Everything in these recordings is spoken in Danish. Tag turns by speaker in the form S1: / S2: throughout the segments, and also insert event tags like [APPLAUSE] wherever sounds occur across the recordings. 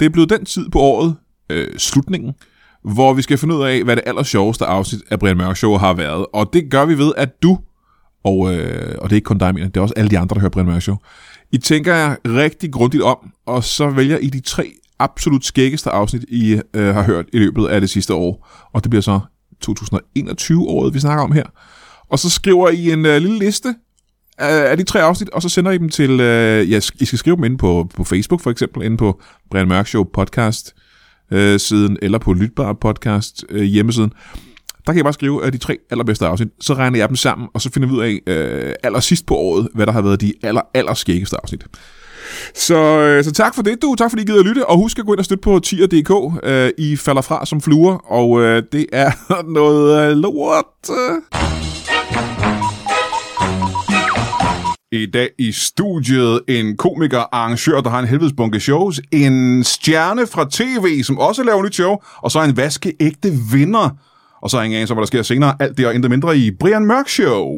S1: Det er blevet den tid på året, øh, slutningen, hvor vi skal finde ud af, hvad det aller sjoveste afsnit af Brian Mørk Show har været. Og det gør vi ved, at du, og, øh, og det er ikke kun dig, mener, det er også alle de andre, der hører Brian Mørk Show, I tænker jer rigtig grundigt om, og så vælger I de tre absolut skæggeste afsnit, I øh, har hørt i løbet af det sidste år. Og det bliver så 2021-året, vi snakker om her. Og så skriver I en øh, lille liste øh, af de tre afsnit, og så sender I dem til... Øh, ja, I skal skrive dem inde på, på Facebook, for eksempel, inde på Brian Mørk Show podcast øh, siden, eller på Lytbar podcast øh, hjemmesiden. Der kan I bare skrive øh, de tre allerbedste afsnit, så regner jeg dem sammen, og så finder vi ud af øh, allersidst på året, hvad der har været de aller, aller skæggeste afsnit. Så, øh, så tak for det, du. Tak fordi I gider at lytte, og husk at gå ind og støtte på tier.dk. Øh, I falder fra som fluer, og øh, det er [LAUGHS] noget øh, lort. I dag i studiet en komiker, arrangør, der har en helvedes bunke shows, en stjerne fra tv, som også laver nyt show, og så en vaskeægte vinder. Og så er jeg ingen anelse om, hvad der sker senere. Alt det og intet mindre i Brian Mørk Show.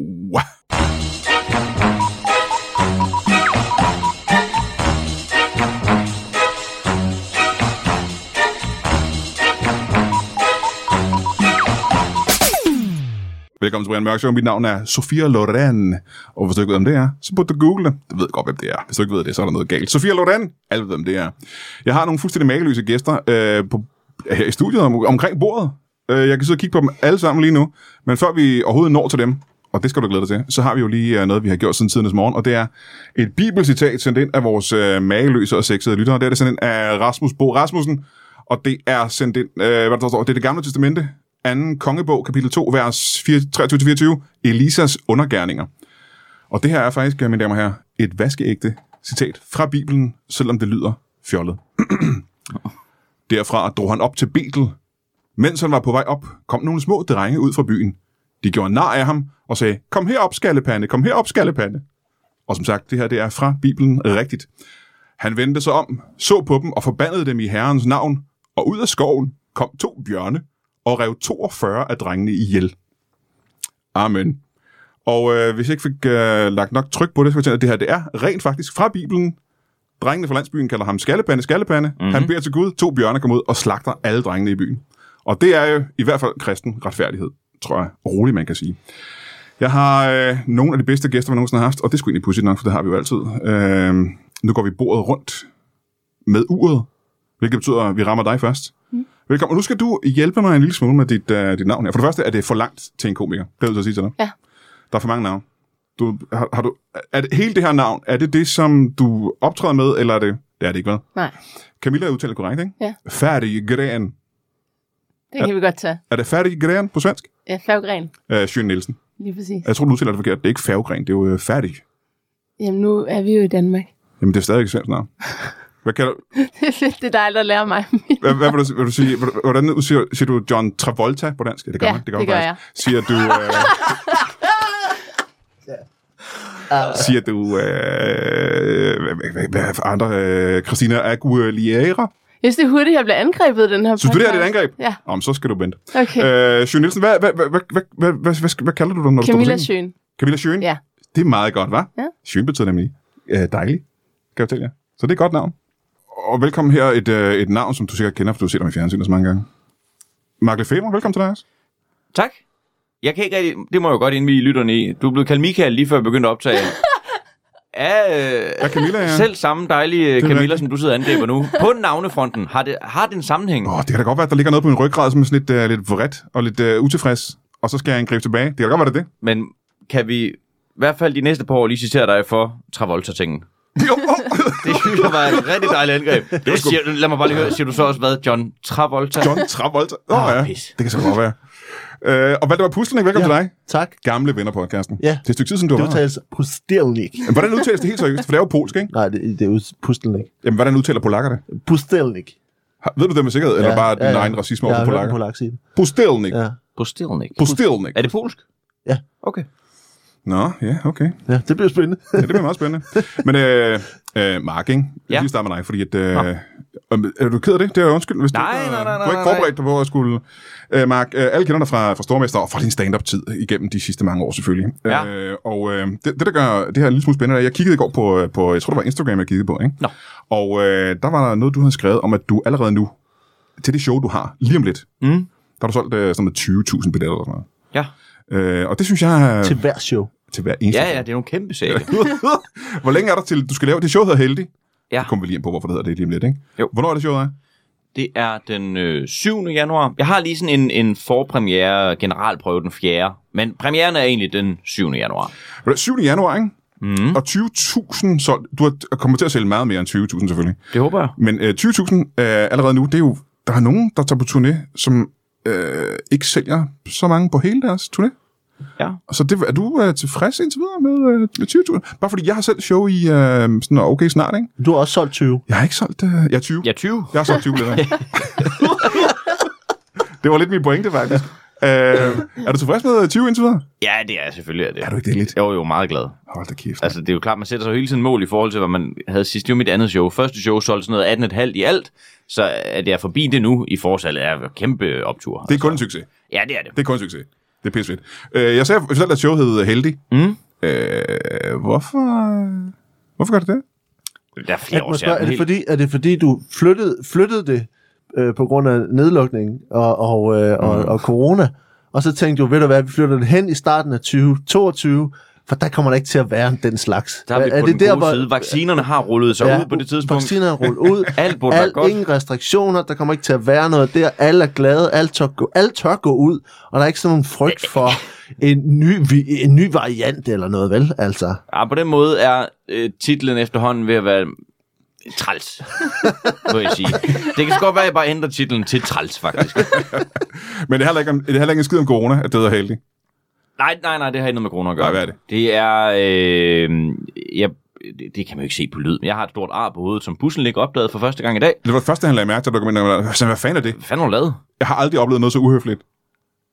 S1: Velkommen til Brian Mørk Show. Mit navn er Sofia Loren. Og hvis du ikke ved, om det er, så burde du google det. Jeg ved godt, hvem det er. Hvis du ikke ved det, så er der noget galt. Sofia Loren. Alle ved, hvem det er. Jeg har nogle fuldstændig mageløse gæster øh, på, her i studiet om, omkring bordet. Øh, jeg kan sidde og kigge på dem alle sammen lige nu. Men før vi overhovedet når til dem, og det skal du glæde dig til, så har vi jo lige øh, noget, vi har gjort siden tidernes morgen, og det er et bibelcitat sendt ind af vores øh, mageløse og sexede lyttere. Det er det sendt ind af Rasmus Bo Rasmussen, og det er sendt ind, øh, hvad der står, det er det gamle testamente, anden kongebog, kapitel 2, vers 4 23-24, Elisas undergærninger. Og det her er faktisk, øh, mine damer og herrer, et vaskeægte citat fra Bibelen, selvom det lyder fjollet. [CLEARS THROAT] Derfra drog han op til Betel, mens han var på vej op, kom nogle små drenge ud fra byen. De gjorde nar af ham og sagde, kom herop, skallepande, kom herop, skallepande. Og som sagt, det her det er fra Bibelen rigtigt. Han vendte sig om, så på dem og forbandede dem i Herrens navn, og ud af skoven kom to bjørne og rev 42 af drengene ihjel. Amen. Og øh, hvis jeg ikke fik øh, lagt nok tryk på det, så kan jeg fortælle, at det her det er rent faktisk fra Bibelen. Drengene fra landsbyen kalder ham Skallepande, Skallepande. Mm-hmm. Han beder til Gud, to bjørne kommer ud og slagter alle drengene i byen. Og det er jo i hvert fald kristen retfærdighed, tror jeg roligt, man kan sige. Jeg har øh, nogle af de bedste gæster, man nogensinde har haft, og det skulle egentlig pudsigt nok, for det har vi jo altid. Øh, nu går vi bordet rundt med uret, hvilket betyder, at vi rammer dig først. Mm. Velkommen. Og nu skal du hjælpe mig en lille smule med dit, øh, dit navn her. For det første er det for langt til en komiker. Det vil jeg sige til dig.
S2: Ja.
S1: Der er for mange navne. Du, har, har du, er det, hele det her navn, er det det, som du optræder med, eller er det... Det er det ikke, hvad?
S2: Nej,
S1: Camilla er udtalt korrekt, ikke?
S2: Ja.
S1: Færdig Gren.
S2: det kan vi godt tage.
S1: Er det Færdig Gren på svensk?
S2: Ja, Favgren,
S1: Øh, Sjøen Nielsen.
S2: lige præcis.
S1: Jeg tror, du udtaler det forkert. Det er ikke Færgren, det er jo øh, Færdig.
S2: Jamen, nu er vi jo i Danmark. [LAUGHS]
S1: Jamen, det er stadig et svensk navn. Hvad kan du,
S2: Det er fedt, det er dig, der lærer mig.
S1: hvad, hvad vil du, vil du sige, hvordan siger, siger du John Travolta på dansk? Ja, det gør
S2: Ja,
S1: man.
S2: det
S1: man
S2: gør
S1: faktisk. Siger du... Øh, Siger du, øh, hvad, hvad, hvad, hvad for andre? Øh, Christina Aguilera?
S2: Jeg synes, det er hurtigt, jeg bliver angrebet i den her
S1: Synes du, det her er et
S2: podcast.
S1: angreb?
S2: Ja,
S1: Om, så skal du vente.
S2: okay. Øh,
S1: Øh, Sjøen Nielsen, hvad, hvad, hvad, hvad, hvad, hvad, hvad, hvad, hvad kalder du dig, når
S2: Camilla
S1: du står på scenen?
S2: Sjøen.
S1: Camilla Sjøen?
S2: Ja.
S1: Det er meget godt, hva'?
S2: Ja.
S1: Sjøen betyder nemlig øh, dejlig, kan jeg fortælle jer. Så det er et godt navn. Og velkommen her et, øh, et navn, som du sikkert kender, for du har set ham i fjernsynet så mange gange. Mark Lefebvre, velkommen til dig også.
S3: Tak. Jeg kan ikke rigtig... Det må jeg jo godt indvige lytterne i. Du blev kaldt Michael lige før vi begyndte at [LAUGHS] optage.
S1: Ja,
S3: Ja,
S1: Camilla,
S3: øh,
S1: ja.
S3: selv samme dejlige
S1: er
S3: Camilla,
S1: rigtigt.
S3: som du sidder og angriber [LAUGHS] nu. På navnefronten har det, har det en sammenhæng.
S1: Åh, det kan da godt være, at der ligger noget på min ryggrad, som er sådan lidt, øh, lidt vredt og lidt øh, utilfreds. Og så skal jeg angribe tilbage. Det kan da godt være, det er det.
S3: Men kan vi i hvert fald de næste par år lige citere dig for Travolta-tingen?
S1: Jo, oh, åh.
S3: Det synes jeg var et rigtig dejligt angreb. Det
S1: sgu-
S3: siger, lad mig bare lige høre. Siger du så også hvad? John Travolta?
S1: John Travolta. Åh oh,
S3: Ah,
S1: ja,
S3: pis.
S1: det kan så godt være. Øh, og Valdemar Puslenik, velkommen ja.
S4: Ja.
S1: til dig.
S4: Tak.
S1: Gamle venner podcasten.
S4: Ja.
S1: Det er et stykke tid, siden du
S4: Det
S1: var her.
S4: udtales pustelnik.
S1: Men Hvordan udtales det helt seriøst? For det er jo polsk, ikke?
S4: Nej, det, det er pustelnik.
S1: Jamen, hvordan udtaler polakker det?
S4: Pustelnik.
S1: Har- Ved du det med sikkerhed, eller bare din egen racisme over
S4: ja,
S1: for
S4: Jeg har hørt
S1: polakker?
S4: en polak sige det.
S1: Pustelnik.
S4: Ja.
S3: Postilnik.
S1: Pustelnik.
S3: Er det polsk?
S4: Ja.
S3: Okay.
S1: Nå, ja, okay.
S4: ja, det bliver spændende.
S1: Ja, det bliver meget spændende. Men øh, Øh, Mark, ikke? Jeg
S3: Ja.
S1: ja. lige starte med dig, fordi at... Øh, om- er du ked af det? Det er jeg undskyld, hvis
S3: Nej,
S1: du, ikke, øh,
S3: nej, nej,
S1: du har
S3: nej,
S1: ikke forberedt dig på at skulle... Øh, Mark, øh, alle kender dig fra, fra Stormester og fra din stand-up-tid igennem de sidste mange år selvfølgelig.
S3: Ja.
S1: Øh, og øh, det, det, der gør det her en lille smule spændende, er, at jeg kiggede i går på, øh, på, jeg tror det var Instagram, jeg kiggede på, ikke?
S3: Nå.
S1: Og øh, der var der noget, du havde skrevet om, at du allerede nu, til det show, du har, lige om lidt,
S3: Mm.
S1: der har du solgt øh, sådan noget 20.000 billetter eller sådan
S3: Ja.
S1: noget. Øh, og det synes jeg... øh,
S4: Til hver show.
S1: til hver eneste
S3: ja, ja, det er nogle kæmpe sager.
S1: [LAUGHS] Hvor længe er der til, du skal lave det show, hedder Heldig?
S3: Ja.
S1: Det kommer vi lige ind på, hvorfor det hedder det lige om lidt, ikke?
S3: Jo.
S1: Hvornår er det showet er?
S3: Det er den øh, 7. januar. Jeg har lige sådan en, en forpremiere, generalprøve den 4. Men premieren er egentlig den 7. januar.
S1: Ved du hvad, 7. januar, ikke?
S3: Mm.
S1: Og 20.000 solgt. Du har kommer til at sælge meget mere end 20.000 selvfølgelig.
S3: Det håber jeg.
S1: Men øh, 20.000 øh, allerede nu, det er jo... Der er nogen, der tager på turné, som øh, ikke sælger så mange på hele deres turné.
S3: Ja.
S1: Og Så det, er du øh, tilfreds indtil videre med, øh, med 20.000? Bare fordi jeg har selv show i øh, sådan noget okay snart, ikke?
S4: Du har også solgt 20.
S1: Jeg har ikke solgt... Øh, jeg er 20.
S3: Jeg er 20.
S1: Jeg har solgt 20 [LAUGHS] billetter. det var lidt min pointe, faktisk. Øh, er du tilfreds med 20 indtil videre?
S3: Ja, det er jeg selvfølgelig. Er det.
S1: Er du ikke det lidt?
S3: Jeg var jo meget glad.
S1: Hold da kæft.
S3: Altså, det er jo klart, man sætter sig jo hele tiden mål i forhold til, hvad man havde sidst. Det var mit andet show. Første show solgte sådan noget 18,5 i alt. Så at jeg er forbi det nu i forsalget er jo kæmpe optur.
S1: det er kun en succes.
S3: Ja, det er det.
S1: Det er kun en succes. Det er pissefedt. Øh, jeg sagde selv, at showet hed Heldig.
S3: Mm.
S1: Øh, hvorfor... øh, Hvorfor gør det det?
S3: Der er flere
S4: Jeg må
S3: årsager.
S4: spørge, er, det
S3: Helt-
S4: fordi, er det fordi, du flyttede, flyttede det øh, på grund af nedlukningen og, og, øh, og,
S1: Mm.
S4: og corona? Og så tænkte du, ved du hvad, vi flytter det hen i starten af 2022, for der kommer der ikke til at være den slags.
S3: Der er vi på
S4: er
S3: den gode side. Vaccinerne har rullet sig ud på det tidspunkt.
S4: Vacciner er rullet ud.
S3: [LAUGHS] Alt burde være
S4: alt,
S3: godt.
S4: Ingen restriktioner, der kommer ikke til at være noget der. Alle er glade, alt tør, gå, alt tør gå ud, og der er ikke sådan nogen
S3: [LAUGHS]
S4: frygt for en ny, vi- en ny variant eller noget, vel? Altså,
S3: Ja, Ah, på den måde er øh, titlen efterhånden ved at være
S1: [LAUGHS]
S3: træls, må jeg sige. Det kan så godt være, at jeg bare ændrer titlen til
S1: [LAUGHS]
S3: træls, faktisk.
S1: Men det er heller ikke, om, det er heller ikke en skid om corona, at det hedder Heldig.
S3: Nej, nej, nej, det har ikke noget med corona at gøre.
S1: Nej, hvad er det?
S3: Det er, øh, jeg, det, det kan man jo ikke se på lyd. Jeg har et stort ar på hovedet, som bussen ligger opdaget for første gang i dag.
S1: Det var det første, han lagde mærke til, da du kom ind. og jeg var sådan, Hvad fanden er det?
S3: Hvad fanden har du lavet?
S1: Jeg har aldrig oplevet noget så uhøfligt,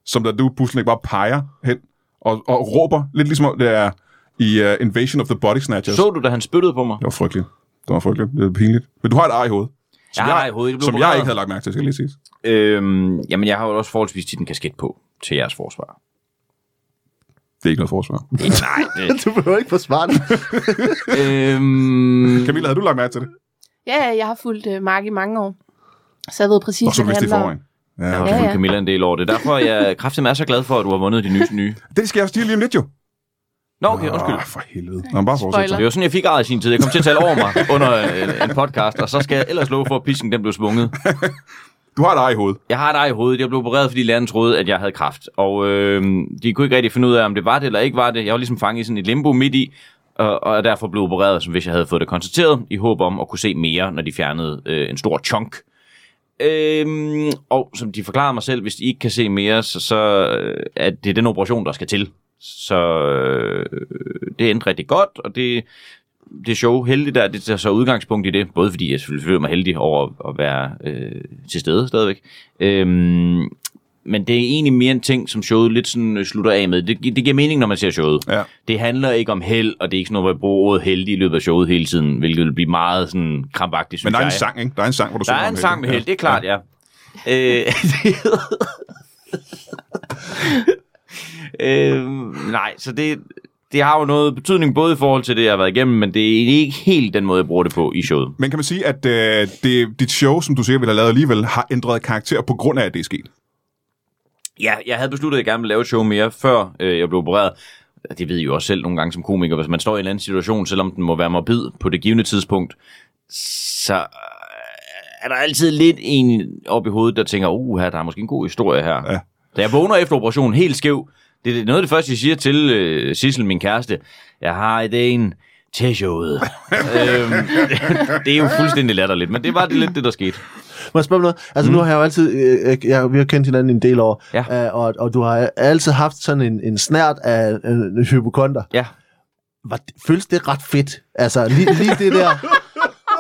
S1: som da du pludselig bare peger hen og, og råber, lidt ligesom om det er i uh, Invasion of the Body Snatchers.
S3: Så du, da han spyttede på mig?
S1: Det var frygteligt. Det var frygteligt. Det var pinligt. Men du har et ar i hovedet.
S3: Jeg har et hovedet, det blev
S1: som jeg
S3: forklaret.
S1: ikke havde lagt mærke til, skal jeg lige sige.
S3: Øhm, jamen, jeg har jo også forholdsvis tit en kasket på til jeres forsvar.
S1: Det er ikke noget forsvar.
S3: nej, det...
S4: [LAUGHS] du behøver ikke forsvare det.
S3: [LAUGHS] øhm,
S1: Camilla, havde du lagt mærke til det?
S2: Ja, ja, jeg har fulgt øh, Mark i mange år. Så jeg ved præcis,
S1: Nå, så
S2: hvad
S1: vidste det i
S2: handler om.
S1: forvejen. Ja.
S3: Jeg har
S1: okay.
S3: også
S2: Ja,
S3: fulgt
S2: ja.
S3: Camilla en del over det. Derfor er jeg kraftigt er så glad for, at du har vundet de nye nye.
S1: Det skal jeg også sige lige om lidt, jo.
S3: Nå, okay, undskyld.
S1: Ah, for helvede. Nå, men bare fortsæt.
S3: Det
S1: så.
S2: Spoiler.
S3: var sådan, jeg fik ejet i sin tid. Jeg kom til at tale over mig under øh, en, en podcast, og så skal jeg ellers love for, at pisken den blev svunget.
S1: Du har et ar i hovedet.
S3: Jeg har et ej i hovedet. Jeg blev opereret, fordi læreren troede, at jeg havde kraft. Og øh, de kunne ikke rigtig finde ud af, om det var det eller ikke var det. Jeg var ligesom fanget i sådan et limbo midt i, og, og er derfor blev opereret, som hvis jeg havde fået det konstateret, i håb om at kunne se mere, når de fjernede øh, en stor chunk. Øhm, og som de forklarer mig selv, hvis de ikke kan se mere, så, så øh, er det den operation, der skal til. Så øh, det endte rigtig godt, og det, det show heldig der, det tager så udgangspunkt i det, både fordi jeg selvfølgelig føler mig heldig over at, at være øh, til stede stadigvæk, øhm, men det er egentlig mere en ting, som showet lidt sådan øh, slutter af med. Det, gi- det giver mening, når man ser showet.
S1: Ja.
S3: Det handler ikke om held, og det er ikke sådan noget, hvor jeg bruger ordet heldig i løbet af showet hele tiden, hvilket vil blive meget sådan krampagtigt,
S1: Men
S3: synes
S1: der er
S3: jeg.
S1: en sang, ikke? Der er en sang, hvor du
S3: Der
S1: synger
S3: er
S1: om
S3: en sang med held, det er klart, ja. Øh, [LAUGHS] øh, nej, så det, det har jo noget betydning både i forhold til det, jeg har været igennem, men det er ikke helt den måde, jeg bruger det på i showet.
S1: Men kan man sige, at øh, det, dit show, som du sikkert ville have lavet alligevel, har ændret karakter på grund af, at det er sket?
S3: Ja, jeg havde besluttet, at jeg gerne ville lave et show mere, før øh, jeg blev opereret. Det ved I jo også selv nogle gange som komiker, hvis man står i en eller anden situation, selvom den må være morbid på det givende tidspunkt, så øh, er der altid lidt en op i hovedet, der tænker, uh, her, der er måske en god historie her.
S1: Ja.
S3: Da jeg vågner efter operationen helt skæv, det er noget af det første, jeg siger til øh, Sissel, min kæreste. Jeg har ideen til showet. øhm, [LAUGHS] det er jo fuldstændig latterligt, men det var det lidt det, der skete.
S4: Må jeg spørge om noget? Altså, mm. nu har jeg jo altid... Øh, øh, jeg, vi har kendt hinanden en del år,
S3: Ja.
S4: øh, og, og du har altid haft sådan en, en snært af øh, hypokonter.
S3: Ja.
S4: Var, det- føles det ret fedt? Altså, lige, lige det
S3: [LAUGHS]
S4: der...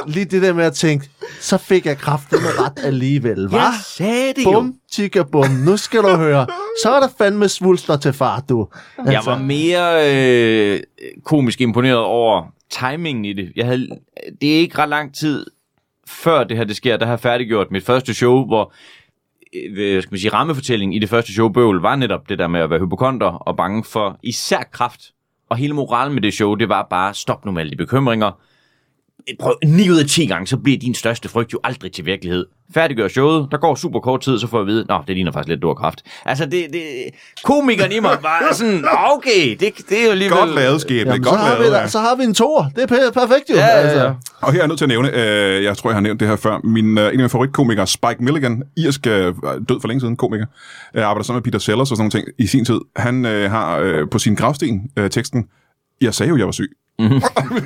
S4: Lige det der med at tænke, så fik jeg kraften med ret alligevel, hva?
S3: Jeg sagde det jo.
S4: Bum, tikka bum, nu skal du høre. Så er der fandme svulster til far, du. Altså,
S3: Jeg var mere øh, komisk imponeret over, timingen i det. Jeg havde, det er ikke ret lang tid før det her det sker, der har jeg færdiggjort mit første show, hvor øh, hvad skal man sige, rammefortællingen i det første show, Bøvl, var netop det der med at være hypokonter og bange for især kraft. Og hele moralen med det show, det var bare, stop nu med alle de bekymringer. Prøv 9 ud af 10 gange, så bliver din største frygt jo aldrig til virkelighed. Færdiggør showet, der går super kort tid, så får jeg at vide, nå, det ligner faktisk lidt dår kraft. Altså, det, det, komikeren i mig var sådan, okay, det, det er jo alligevel...
S1: Godt lavet, skæbne.
S4: Jamen, så,
S1: godt
S4: har vi,
S1: lavet,
S4: da- så har vi en toer. Det er per- perfekt jo. Altså.
S3: Ja, ja, ja.
S1: Og her er jeg nødt til at nævne, øh, jeg tror, jeg har nævnt det her før, min, øh, en af mine favoritkomikere, Spike Milligan, irsk øh, død for længe siden komiker, øh, arbejder sammen med Peter Sellers og sådan nogle ting i sin tid. Han øh, har øh, på sin gravsten øh, teksten, jeg sagde jo, jeg var syg.
S3: Mhm.
S1: Mm-hmm.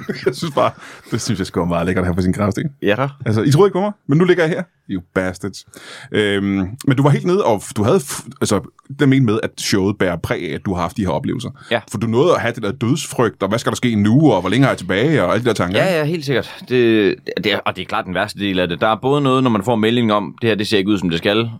S1: [LAUGHS] jeg synes bare, det synes jeg sgu er meget lækkert at have på sin gravsten.
S3: Ja, da.
S1: Altså, I troede ikke på mig, men nu ligger jeg her. You bastards. Øhm, men du var helt nede, og f- du havde f- altså, den mente med, at showet bærer præg af, at du har haft de her oplevelser.
S3: Ja.
S1: For du nåede at have det der dødsfrygt, og hvad skal der ske nu, og hvor længe har jeg tilbage, og alle de der tanker.
S3: Ja, ja, helt sikkert. Det, det, er- og det er klart den værste del af det. Der er både noget, når man får melding om, det her det ser ikke ud, som det skal.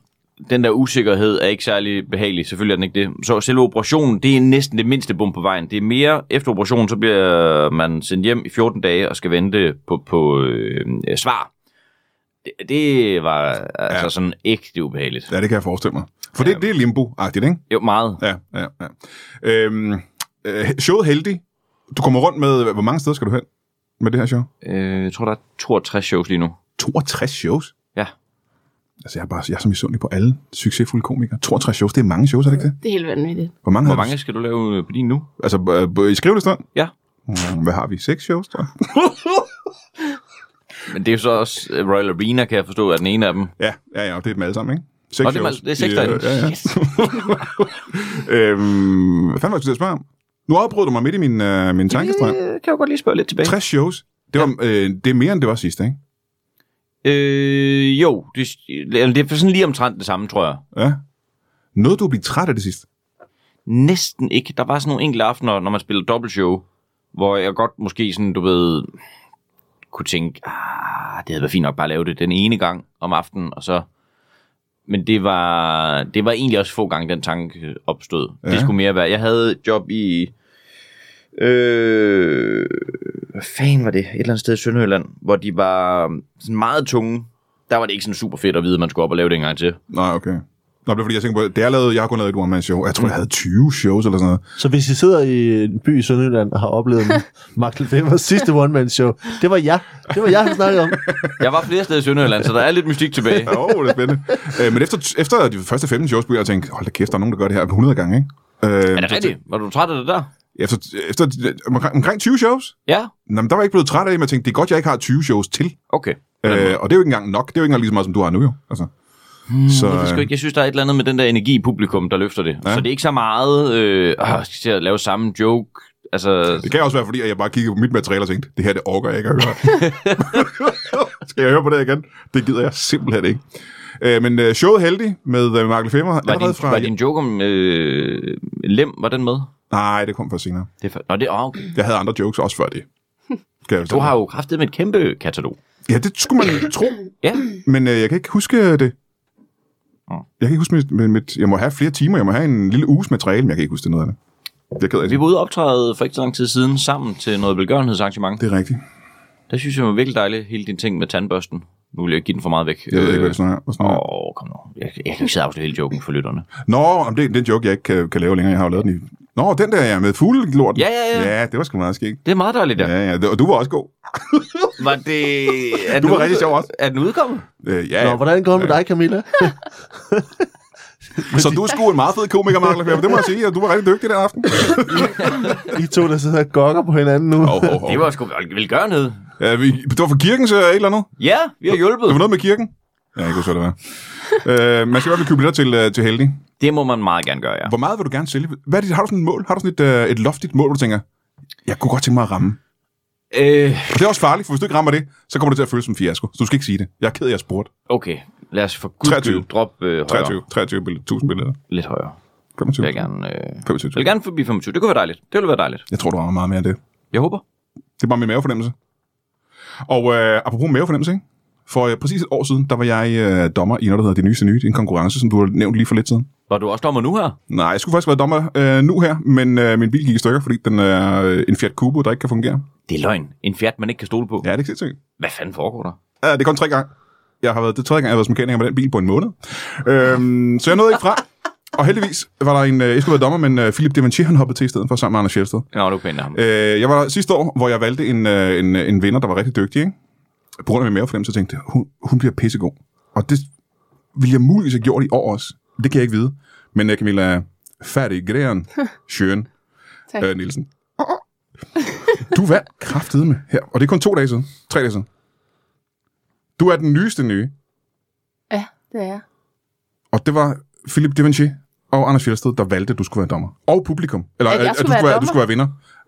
S3: Den der usikkerhed er ikke særlig behagelig. Selvfølgelig er den ikke det. Så selve operationen, det er næsten det mindste bum på vejen. Det er mere, efter operationen, så bliver man sendt hjem i 14 dage og skal vente på, på øh, øh, svar. Det, det var altså
S1: Ja.
S3: ja. sådan ægte ubehageligt.
S1: Ja, det kan jeg forestille mig. For det, det er limbo-agtigt, ikke?
S3: Jo, meget.
S1: Ja, ja, ja. Øhm, øh, showet Heldig. Du kommer rundt med, hvor mange steder skal du hen med det her show?
S3: Øh, jeg tror, der er 62 shows lige nu.
S1: 62 shows?
S3: Ja.
S1: Altså, jeg er, bare, jeg er så misundelig på alle succesfulde komikere. 62 shows, det er mange shows, er det ikke det?
S2: Det er helt vanvittigt.
S1: Hvor mange,
S3: Hvor
S1: har du-
S3: mange skal du lave øh, på din nu?
S1: Altså, b- b- i skrivelsestand?
S3: Ja.
S1: Mm, Hvad har vi? Seks shows, tror jeg?
S3: Men det er jo så også øh, Royal Arena, kan jeg forstå, er den ene af dem.
S1: Ja, ja, ja, det er dem alle sammen, ikke? Seks
S3: Nå, det er dem alle- det er seks
S1: i,
S3: derinde.
S1: øh, Ja, ja. øhm, hvad fanden var det, jeg skulle spørge om? Nu afbrød du mig midt i min, øh, min tankestrøm.
S3: Øh, kan jeg godt lige spørge lidt tilbage.
S1: 60 shows. Det, var, øh, det er mere, end det var sidst, ikke?
S3: Øh, jo, det, eller det er sådan lige omtrent det samme, tror jeg.
S1: Ja. Nåede du at blive træt af det sidste?
S3: Næsten ikke. Der var sådan nogle enkelte aftener, når man spiller dobbeltshow, hvor jeg godt måske sådan, du ved, kunne tænke, ah, det havde været fint nok bare at lave det den ene gang om aftenen, og så... Men det var, det var egentlig også få gange, den tanke opstod. Ja.
S1: Ja.
S3: Det skulle mere være. Jeg havde et job i... Øh, hvad fanden var det? Et eller andet sted i Sønderjylland, hvor de var um, sådan meget tunge. Der var det ikke sådan super fedt at vide, at man skulle op og lave det en gang til.
S1: Nej, okay. Nå, det er fordi, jeg tænker på, det er lavet, jeg har kun lavet et one-man-show. Jeg tror, jeg havde 20 shows eller sådan noget.
S4: Så hvis I sidder i en by i Sønderjylland og har oplevet Mark Lefebvre's sidste one-man-show, det var jeg. Det var jeg, han snakkede om.
S3: Jeg var flere steder i Sønderjylland, så der er lidt mystik
S1: [LAUGHS]
S3: tilbage.
S1: Åh, oh, det er spændende. øh, men efter, efter de første 15 shows, begyndte jeg at tænke, hold da kæft, der er nogen, der gør det her 100 gange, ikke? Øh,
S3: Er det rigtigt? Var du træt af det der?
S1: Efter, efter omkring, omkring 20 shows,
S3: Ja?
S1: Nå, men der var jeg ikke blevet træt af det, men jeg tænkte, det er godt, jeg ikke har 20 shows til.
S3: Okay.
S1: Øh, og det er jo ikke engang nok. Det er jo ikke engang lige så meget, som du har nu, jo. Altså. Hmm, så,
S3: Jeg, sgu ikke. jeg synes, der er et eller andet med den der energi i publikum, der løfter det.
S1: Ja.
S3: Ja. Så det er ikke så meget, øh, åh, skal til at lave samme joke. Altså,
S1: det kan også være, fordi at jeg bare kiggede på mit materiale og tænkte, det her, det orker jeg ikke at høre. Skal jeg høre på det igen? Det gider jeg simpelthen ikke. Øh, men øh, showet Heldig med øh, Mark Lefebvre.
S3: var,
S1: allerede
S3: din,
S1: fra...
S3: var din joke om øh, lem, var den med?
S1: Nej, det kom først senere.
S3: Det er, for- Nå, det er okay.
S1: Jeg havde andre jokes også før det. Kan jeg
S3: Du
S1: fortælle
S3: har
S1: dig.
S3: jo kraftet med et kæmpe katalog.
S1: Ja, det skulle man tro,
S3: Ja,
S1: men øh, jeg kan ikke huske det.
S3: Nå.
S1: Jeg kan ikke huske mit, mit, mit... Jeg må have flere timer, jeg må have en lille uges materiale, men jeg kan ikke huske det noget af det. Det er jeg ked af.
S3: vi var ude og optræde for ikke så lang tid siden sammen til noget velgørenhedsarrangement.
S1: Det er rigtigt.
S3: Der synes jeg var virkelig dejligt, hele din ting med tandbørsten. Nu vil jeg ikke give den for meget væk. Øh,
S1: Jeg ved ikke, hvad det snakker hvad snakker om.
S3: Åh, kom nu. Jeg, jeg kan ikke sidde og afsløre hele joken for lytterne.
S1: Nå, om det, det er en joke, jeg ikke kan, kan lave længere. Jeg har jo lavet den i... Nå, den der ja, med fuglelorten.
S3: Ja, ja, ja.
S1: Ja, det var sgu meget skægt.
S3: Det er meget dejligt, der.
S1: Ja, ja, det- og du var også god.
S3: Var det... Er
S1: Du
S3: den
S1: var
S3: ud-
S1: rigtig sjov også.
S3: Er den udkommet?
S1: Øh, ja,
S4: Nå,
S1: ja.
S4: hvordan går det med dig, Camilla?
S1: så du er sgu en meget fed komiker, Mark Lefebvre. Det må jeg sige, og du var rigtig dygtig den aften.
S4: I to, der sidder og gokker på hinanden nu.
S1: Hov, hov, hov.
S3: Det var sgu velgørenhed.
S1: Øh, vi, det var for kirkens øh, et eller andet.
S3: Ja, vi har hjulpet.
S1: Det var noget med kirken. Ja, jeg kan huske, hvad det var. øh, man skal i hvert fald købe billetter til, øh, til Heldig.
S3: Det må man meget gerne gøre, ja.
S1: Hvor meget vil du gerne sælge? Hvad er dit, har du sådan et mål? Har du sådan et, øh, et loftigt mål, hvor du tænker, jeg kunne godt tænke mig at ramme?
S3: Øh,
S1: Og det er også farligt, for hvis du ikke rammer det, så kommer det til at føles som en fiasko. Så du skal ikke sige det. Jeg er ked af, at jeg spurgte.
S3: okay, lad os for guds
S1: 23.
S3: skyld droppe øh, højere.
S1: 23, 23 billetter, 1000 billetter.
S3: Lidt højere.
S1: 25.
S3: Vil jeg gerne... Øh...
S1: 25.
S3: Jeg vil gerne forbi 25. Det kunne være dejligt. Det ville være dejligt.
S1: Jeg tror, du rammer meget mere end det.
S3: Jeg håber.
S1: Det er bare min mavefornemmelse. Og øh, apropos mavefornemmelse, ikke? for øh, præcis et år siden, der var jeg øh, dommer i noget, der hedder Det Nye til Nye. Det er en konkurrence, som du har nævnt lige for lidt siden.
S3: Var du også dommer nu her?
S1: Nej, jeg skulle faktisk være dommer øh, nu her, men øh, min bil gik i stykker, fordi den er øh, en Fiat Cubo, der ikke kan fungere.
S3: Det er løgn. En Fiat, man ikke kan stole på.
S1: Ja, det er ikke sindssygt.
S3: Hvad fanden foregår der?
S1: Ja, det er kun tre gange. Jeg har været, det er tredje gang, jeg har været som mekaniker med den bil på en måned. Øhm, så jeg nåede ikke frem. Og heldigvis var der en, øh, jeg skulle være dommer, men øh, Philip Devanchier, han hoppede til i stedet for sammen med Anders Sjælsted.
S3: Nå, du er pænt af ham.
S1: Øh, jeg var der sidste år, hvor jeg valgte en, øh, en, øh, en vinder, der var rigtig dygtig. Ikke? På grund af min mavefornemmelse, så tænkte jeg, hun, hun bliver pissegod. Og det ville jeg muligvis have gjort i år også. Det kan jeg ikke vide. Men øh, Camilla, færdig græren, sjøen,
S2: Tak.
S1: øh, Nielsen. [LAUGHS] Du vandt kraftedeme her. Og det er kun to dage siden. Tre dage siden. Du er den nyeste nye.
S2: Ja, det er jeg.
S1: Og det var Philip Devanchier og Anders Fjeldsted, der valgte, at du skulle være dommer. Og publikum. Eller
S2: At jeg
S1: du,
S2: skulle
S1: skulle
S2: være
S1: være, du
S2: dommer?
S1: skulle være vinder.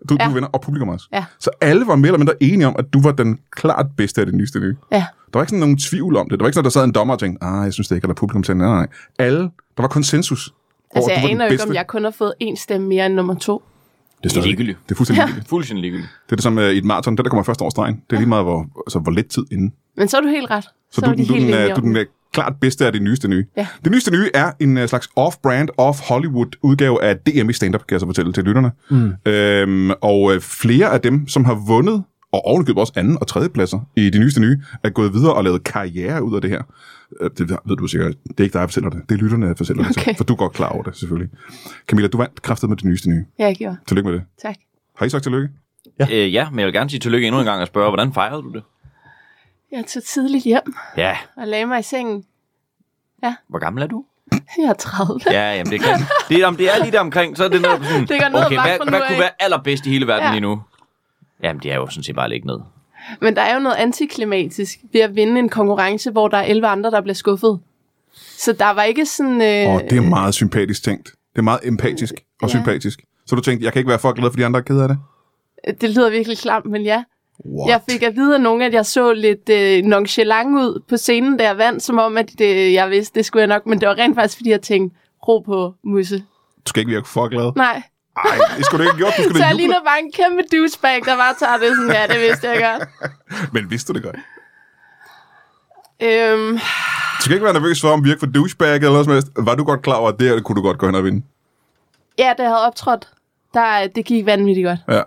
S1: Du, ja.
S2: Ja.
S1: du er vinder, og publikum også.
S2: Ja.
S1: Så alle var mere eller mindre enige om, at du var den klart bedste af det nyeste nye.
S2: Ja.
S1: Der var ikke sådan nogen tvivl om det. Der var ikke sådan, der sad en dommer og tænkte, ah, jeg synes det ikke, eller publikum tænkte, nej, nej. Alle, der var konsensus. over,
S2: Altså,
S1: at du
S2: jeg
S1: var den
S2: aner jo ikke,
S1: bedste.
S2: om jeg kun har fået én stemme mere end nummer to.
S1: Det er, stadig-
S3: ligegyldigt.
S1: Det er fuldstændig ja. ligegyldigt.
S3: Fuldstændig ligegyldigt.
S1: Det er det som øh, i et maraton, den der kommer først over stregen. Det er lige meget, hvor, altså, hvor lidt tid inden.
S2: Men så er du helt ret.
S1: Så,
S2: er
S1: du, du, du, den,
S2: enige
S1: er- du
S2: om
S1: den
S2: det.
S1: er klart bedste af det nyeste nye.
S2: Ja.
S1: Det nyeste nye er en øh, slags off-brand, off-Hollywood udgave af DM i stand-up, kan jeg så fortælle til lytterne. Mm. Øhm, og øh, flere af dem, som har vundet, og ovenikøbet også anden og tredje pladser i de nyeste nye, er gået videre og lavet karriere ud af det her. Øh, det ved du sikkert. Det er ikke dig, der fortæller det. Det er lytterne, der fortæller det. til,
S2: Okay.
S1: For du er godt klar over det, selvfølgelig. Camilla, du vandt kraftet med det nyeste nye.
S2: Ja, jeg gjorde.
S1: Tillykke med det.
S2: Tak.
S1: Har I sagt tillykke?
S4: Ja.
S3: Øh, ja, men jeg vil gerne sige tillykke endnu en gang og spørge, hvordan fejrede du det?
S2: Jeg tog tidligt hjem
S3: Ja,
S2: og lagde mig i sengen.
S3: hvor gammel er du?
S2: Jeg er 30.
S3: Ja, jamen det kan. Det, er- om det er lige der omkring, så er det noget sådan,
S2: Det går ned ad
S3: okay,
S2: bakke
S3: hvad,
S2: fra nu
S3: hvad
S2: af.
S3: kunne være allerbedst i hele verden ja.
S2: Ja.
S3: lige nu? Jamen det er jo sådan set bare at ligge ned.
S2: Men der er jo noget antiklimatisk ved at vinde en konkurrence, hvor der er 11 andre, der bliver skuffet. Så der var ikke sådan... Øh,
S1: Åh, det er meget sympatisk tænkt. Det er meget empatisk og
S2: Ja.
S1: sympatisk. Så du tænkte, jeg kan ikke være for glad, for de andre er ked af det?
S2: det lyder virkelig klamt, men ja.
S1: What?
S2: What? Jeg fik at vide af nogen, at jeg så lidt øh, nonchalant ud på scenen, da jeg vandt, som om, at det, jeg vidste, det skulle jeg nok. Men det var rent faktisk, fordi jeg tænkte, ro på, musse.
S1: Du skal ikke virke for glad.
S2: Nej.
S1: Nej, det skulle du ikke have gjort. Du skulle
S2: [LAUGHS] Så
S1: da
S2: jeg
S1: juble.
S2: ligner bare en kæmpe douchebag, der bare tager det sådan, ja, det vidste jeg godt.
S1: Men vidste du det godt?
S2: Øhm,
S1: Du skal ikke være nervøs for, om vi virke for douchebag eller noget som helst. Var du godt klar over, at det her kunne du godt gå hen og vinde?
S2: ja, da jeg havde optrådt, der, det gik vanvittigt godt.
S1: Ja.